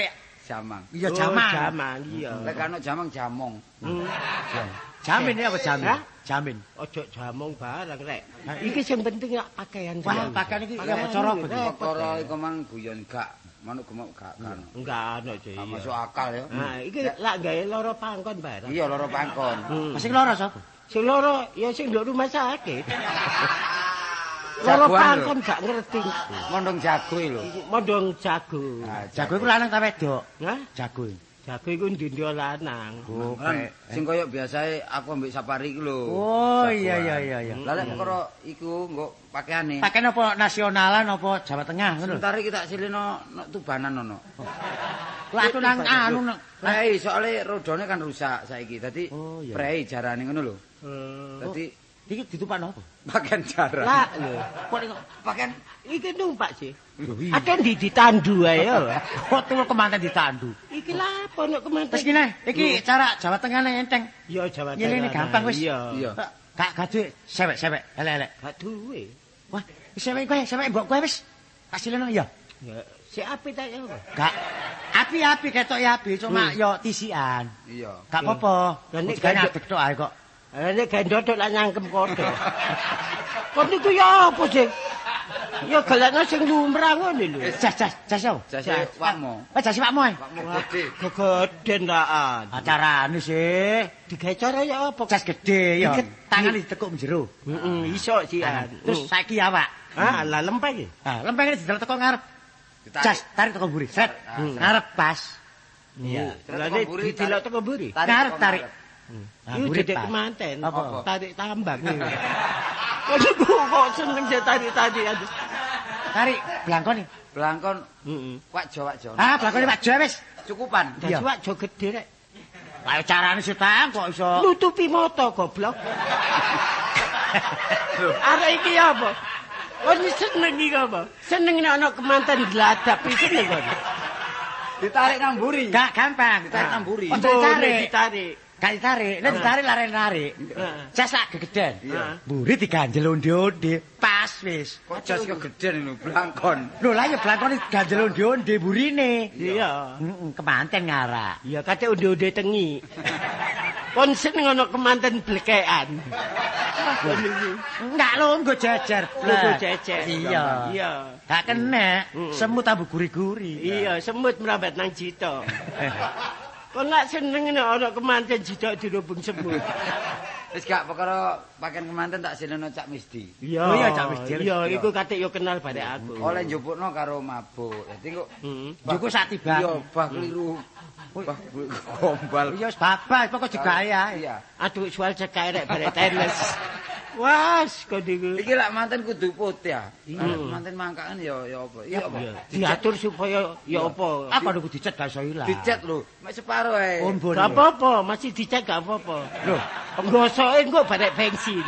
C: jamang.
A: iya
B: Oh,
A: jaman. Hmm.
B: Jaman iya.
C: Lek ana jamang jamong.
A: Jamin ya apa jamin?
B: Hah?
A: Jamin.
B: Ojo jamong barang rek. Iki sing penting ya pakaian.
A: Wah,
B: sampean.
A: pakaian iki ya
B: Pakaian
A: cara
B: ini
A: apa?
B: repot,
C: Perkara
B: ya.
C: iku mang guyon gak. Manuk gemuk gak kan.
B: Enggak ana jo
C: Ah, Masuk
B: iya.
C: akal ya.
B: Nah, iki lak gawe loro pangkon barang.
C: Iya loro pangkon.
B: Hmm.
A: Masih loro sapa?
B: Sing loro ya sing nduk rumah sakit.
C: Jagoan
B: Loro
C: lho.
B: pangkon gak ngerti.
C: Mondong jago iki lho.
B: Mondong jago.
C: Ah,
A: Jago iku lanang ta wedok?
B: Hah?
A: Jago.
B: Jago iku ndi lanang.
C: Bukan, sing koyo biasae aku ambek safari iku lho.
A: eh. Oh, iya iya iya iya.
C: Lah lek perkara iku nggo pakaiane.
A: Pakaian apa nasionalan apa Jawa Tengah ngono?
C: Sebentar iki tak silino nek tubanan ono.
A: Lah aku nang anu nang
C: Prei soalé eh, rodone kan rusak saiki. Dadi
A: Oh, iya. Oh.
C: prei jarane ngono lho.
B: Hmm.
C: Dadi
A: iki ditupakno apa?
C: pakaian jaran.
B: Lah lho,
A: Kok iki
C: pakaian
B: iki numpak sih.
C: lho iya.
B: Ada ndi ditandu ae yo.
A: kok tuwa kemanten ditandu?
B: Iki lapo nek kemanten?
A: Terus gini, iki cara Jawa Tengah nang enteng.
B: Yo Jawa Tengah.
A: Ngene ini gampang wis.
B: Iya.
C: Iya.
A: Kak gaduh sewek-sewek elek-elek.
B: Gak duwe.
A: Wah, sewek kowe, sewek mbok kowe wis. Hasilnya ya.
B: Ya, si api tak yo.
A: Gak api-api ketok ya api, cuma yo tisian.
C: Iya.
A: Gak apa-apa.
B: Hmm. Lah, nek
A: Kan
B: gak-
A: adek tok ae kok.
B: Lah Eh, nek gendot lan nyangkem kodho. Kon niku ya apa sih? Ya gelekno sing lumrah ngono lho.
A: Jas jas jas yo.
C: Jase wakmo.
A: Wah, jas Pak Moy.
C: Wakmo gede.
B: Gegeden laan.
A: Acarane sih.
B: Digawe cara Eh, ya apa?
A: Jas gede yo.
B: Iki-
A: Tangan ditekuk njero.
B: Heeh, iso sih.
A: Tangan. Terus
B: Terus
A: saiki awak.
B: ah lah lempeng.
A: Ah, lempengane didelok teko ngarep. Jas tarik teko mburi. Set.
B: Ah,
A: Ngarep pas. Iya.
B: Lah nek ditilok teko mburi.
A: Ngarep tarik. Ah,
B: Iku
A: mburi
B: dedek
A: pas.
B: kemanten.
A: Apa?
B: Tarik tambang. Kok iku kok seneng saya tarik-tarik.
A: Tarik blangkone.
C: Blangkon
B: Heeh.
C: wak Jawa Jawa.
A: Ah, blangkone Pak Jo wis.
C: Cukupan.
A: Iya.
B: Dadi wak jo gede rek.
A: Lah carane sih Tang, kok iso
B: nutupi mata goblok. Arek iki apa? Wong iki seneng iki apa? Seneng nek ana kemanten gladap iki seneng kok.
C: Ditarik nang mburi.
A: Gak gampang.
C: Ditarik
B: Ah.
C: tamburi.
A: Oh,
B: Boleh
A: ditarik.
B: ditarik.
A: Gak ditarik.
B: Ah.
A: Nek ditarik lare narik.
B: Heeh.
A: Cas sak gegeden.
C: Iya.
A: Mburi diganjel onde-onde. Pas wis.
C: Kok jas kegeden lho blangkon.
A: Lho lah ya blangkone ganjel onde-onde mburine.
B: Iya.
A: Heeh, kemanten ngarak.
B: Iya kate onde-onde tengi. Kon seneng ana kemanten blekekan.
A: Enggak lho, nggo jejer.
B: Lho, nggo
A: blek.
B: jejer.
A: Iya.
B: Iya.
A: Gak kena.
B: Mm-mm.
A: Semut tambah guri-guri.
B: Iya, semut merambat nang jito. Kon lak seneng nek ana kemanten jito dirubung semut.
C: Wis gak perkara pakaian kemanten tak silino cak Misdi.
B: Iya,
A: Oh, iya, Cak Wisdil.
B: Iya, iku kate yo kenal bare aku.
C: Oleh njupukno karo mabuk. Dadi kok
B: Heeh.
A: Juku sak tiba.
C: Iya, bah keliru. Bah gombal.
A: Iya, wis babas
B: Ah.
A: pokok digawe ae.
C: Iya.
B: Aduh, soal cekai rek bare teles. Was, kok diku.
C: Iki lak manten kudu putih ya. Lek Manten mangkakan ya ya apa? Iya apa?
B: Diatur supaya ya apa.
A: Apa niku dicet gak iso ilang. Oh,
C: Dicet lho, mek separo ae.
A: Ombone.
B: Gak apa-apa, masih dicek gak apa-apa.
A: Lho,
B: Nggosoke engko barek bensin.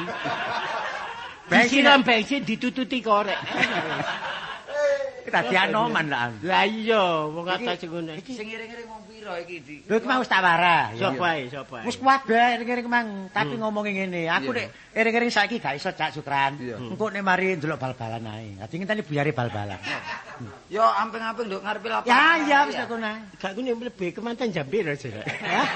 A: Bensin?
B: Bensin bensin ditututi korek.
A: Tadi anoman lah.
B: Lah iya, wong kata sing ngono.
C: Sing ngiring-ngiring wong pira iki, Dik?
A: Lho iki mau wis tak warah. ya.
B: Sapa ae, sapa ae.
A: Wis kuat bae ring-ring mang, tapi
B: Hmm.
A: ngomongi ngene, aku nek
C: Iya.
A: ring-ring saiki gak iso cak sukran. Hmm.
C: Iya.
A: Engko nek mari ndelok bal-balan ae. Ati ngenteni buyare bal-balan.
C: Yo amping-amping nduk ngarepe lapangan.
A: Ya ya wis tak kono.
B: Gak kuwi lebih kemanten jam pira jare? Hah?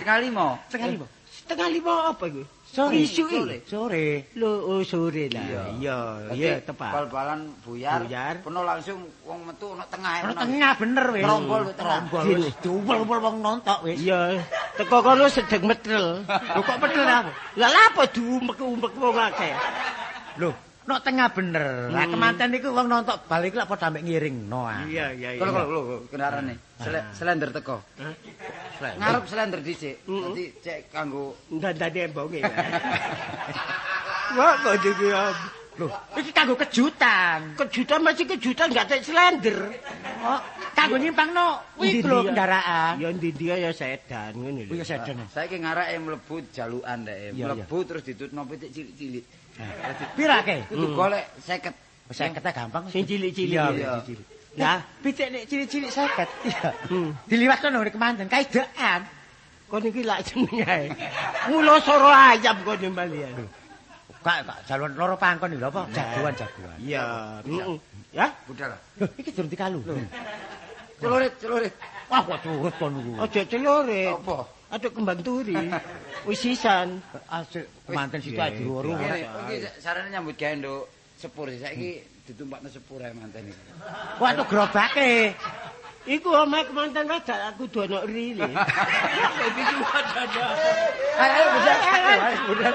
C: Sekali mo.
A: Sekali kok.
B: Setengah lima apa iku?
A: Sore.
B: Isuk iki.
A: Sore.
B: Lho, oh sore lah. Iya, Ah, iya tepat.
C: Bal-balan buyar,
B: Buyar.
C: penuh langsung wong metu ono tengah.
A: Ono tengah bener wis.
C: Trombol, wis, tengah.
A: trombol.
B: Gini.
A: wis. Diumpul-umpul wong nontok wis.
B: Iya, eh. teko kono sedeng metrel.
A: Lho kok pedel aku.
B: Lah lah apa diumek-umek wong akeh.
A: Lho, nok tengah bener. Lah kemanten iku wong nontok bal iku lak padha ambek ngiring no.
B: Hmm.
A: ah.
B: Iya, iya,
C: Kalau
B: iya.
C: kalau lho kendarane.
F: Ah.
C: Sele- Selender teko. Ngarep selender dhisik. Nanti cek kanggo
B: Dandane embonge. Wah, kok iki
A: Lho, iki kanggo kejutan.
B: kejutan masih kejutan gak tek slender.
A: Oh, kanggo nyimpangno kuwi lho kendaraan.
B: Ya ndi dia ya sedan ngono lho.
A: Kuwi Oh, sedan.
C: saiki ngarake mlebu jalukan ndek.
A: Iya,
C: Mlebu terus ditutno pitik cilik-cilik.
A: Pira
F: Mm.
A: ke?
C: Kudu golek 50.
F: Oh,
A: Saya kata gampang.
B: Sing cilik-cilik.
A: Iya,
B: Iya.
A: cilik-cilik.
B: Nah,
A: Nah, pitik nek cilik-cilik seket. Iya. Diliwat kono nek kemanten kaidean.
B: kon iki lak jeneng ae. Mula soro ayam kon bali ya.
A: Kak, kak jaluan loro pangkon iki lho apa? Jagoan-jagoan.
B: Iya, Ya,
C: Budal.
A: Lho, iki durung dikalu.
C: Celurit, celurit.
A: Wah, kok curut kon niku.
B: aja celurit.
C: Apa?
B: Aduk kembang turi. Wis sisan.
A: Asik kemanten situ ae
C: Ngene,
A: diwuru.
C: Iki sarane nyambut gawe nduk sepur
F: Hmm.
C: saiki ditumpakno sepur ae manten iki.
A: Wah, tuh gerobake.
B: Iku omae kemanten wadah aku dono rile.
A: Ayo, ayo, budal. Ayo, budal.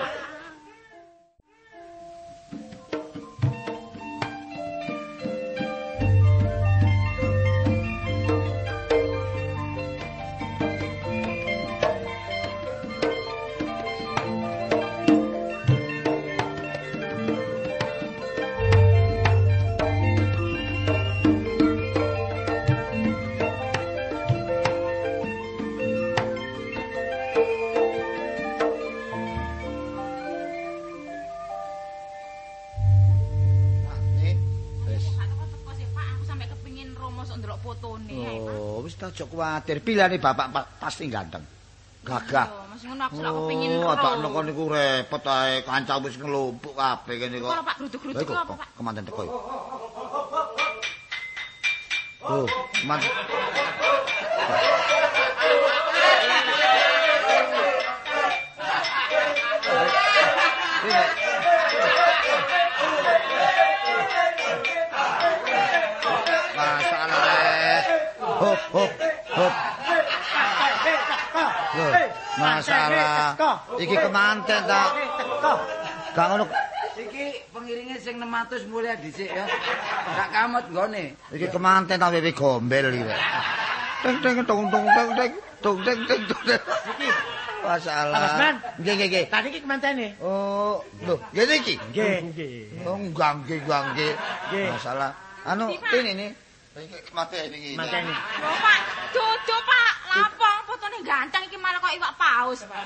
F: Wis.
D: Aku teko sih, Pak, aku sampe kepengin romo sok ndelok fotone ae, Pak.
F: Oh, wis tak jok kuwatir. Pilane bapak pa- pasti ganteng. Gagah.
D: Loh, Mas ngono aku sok kepengin
F: Oh,
D: romo.
F: atakno kon niku repot ae, kanca wis ngelumpuk kabeh kene kok.
D: Ora, Pak, gruduk-gruduk
F: Lha,
D: apa,
F: kok
D: Pak?
F: Kemanten teko. iki? Oh, kemanten. Masalah. eh. Hop hop hop. Loh, masalah. Iki kemanten tak. Gak ngono.
C: Iki pengiringe sing 600 mulai dhisik ya. Gak kamot nggone.
F: Iki kemanten tak wewe gombel iki. Pak. Teng teng tong tong teng teng tong teng teng tong teng. Masalah.
A: Mas Man.
F: Nggih nggih nggih.
A: Tadi iki kemantene.
F: Oh, lho, ngene iki.
A: Nggih.
F: Oh, gangge gangge. Masalah. Anu, ini ini. Iki kemanten iki.
A: Mantene.
D: Lho, Pak, dodo, Pak. Lapong fotone ganteng iki malah kok iwak paus, Pak.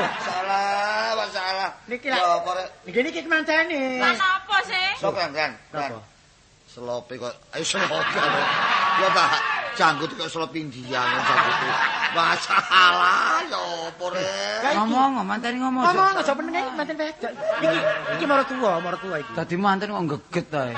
F: Masalah, masalah.
A: Niki lah.
F: Ya, apa, Rek?
A: Niki niki kemantene.
D: Lah napa sih?
F: Sok kan kan.
A: Napa?
F: Selope kok ayo selope. Ya Pak, janggut kok selop India ngono janggut. Masalah ya apa Rek?
C: Ngomong, manten ngomong.
A: Ngomong aja penenge iki manten wedok. Iki iki mara tuwa, mara tuwa iki.
C: Dadi manten kok eh. geget ae.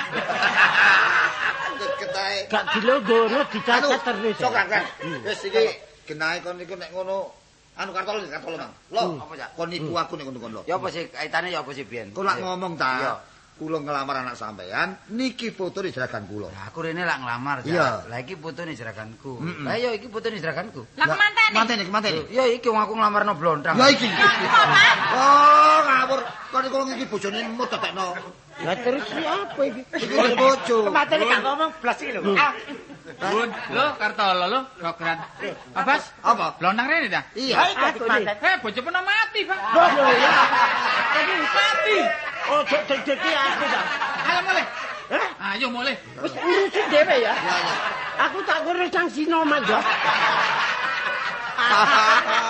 F: Deket ae.
B: Gak dilonggono
F: Anu,
B: dicacat terus.
F: sok kan kan. Wis iki genahe kon niku nek ngono anu kartolo kartolo Mang. Lo apa ya? Kon niku aku nek ngono kon lo.
C: Ya apa sih kaitane ya apa sih biyen?
F: Kon lak ngomong
C: Iya.
F: ta. Kula ngelamar anak sampean, niki foto di jeragan kula.
C: Lah aku rene lak nglamar. Cak.
F: Iya.
C: Lah iki fotone jeraganku. Lah ya iki fotone jeraganku.
D: Lah kemantene?
F: Mantene, mantene.
C: Ya iki wong aku nglamarno blontang.
F: Ya iki.
D: Apa, Pak?
F: Oh, ngawur. Kon niku iki bojone mut tetekno.
B: Lah terus iki apa iki?
F: Iki wis bojo.
A: Kemantene gak ngomong blas iki lho. Ah,
E: Bun, lo Kartolo lo, Sokran. Apa?
F: Apa?
E: Lontang rene dah.
F: Iya.
B: Ayo
A: Aku
B: kemanten.
E: Eh, bocah pernah mati, Pak.
B: Mati. Oh, dek-deki aku dah.
E: Ayo mulai. Ayo mulai.
B: Wis urusin dhewe ya.
F: Ya, ya.
B: Aku tak urus nang sino mah, Dok.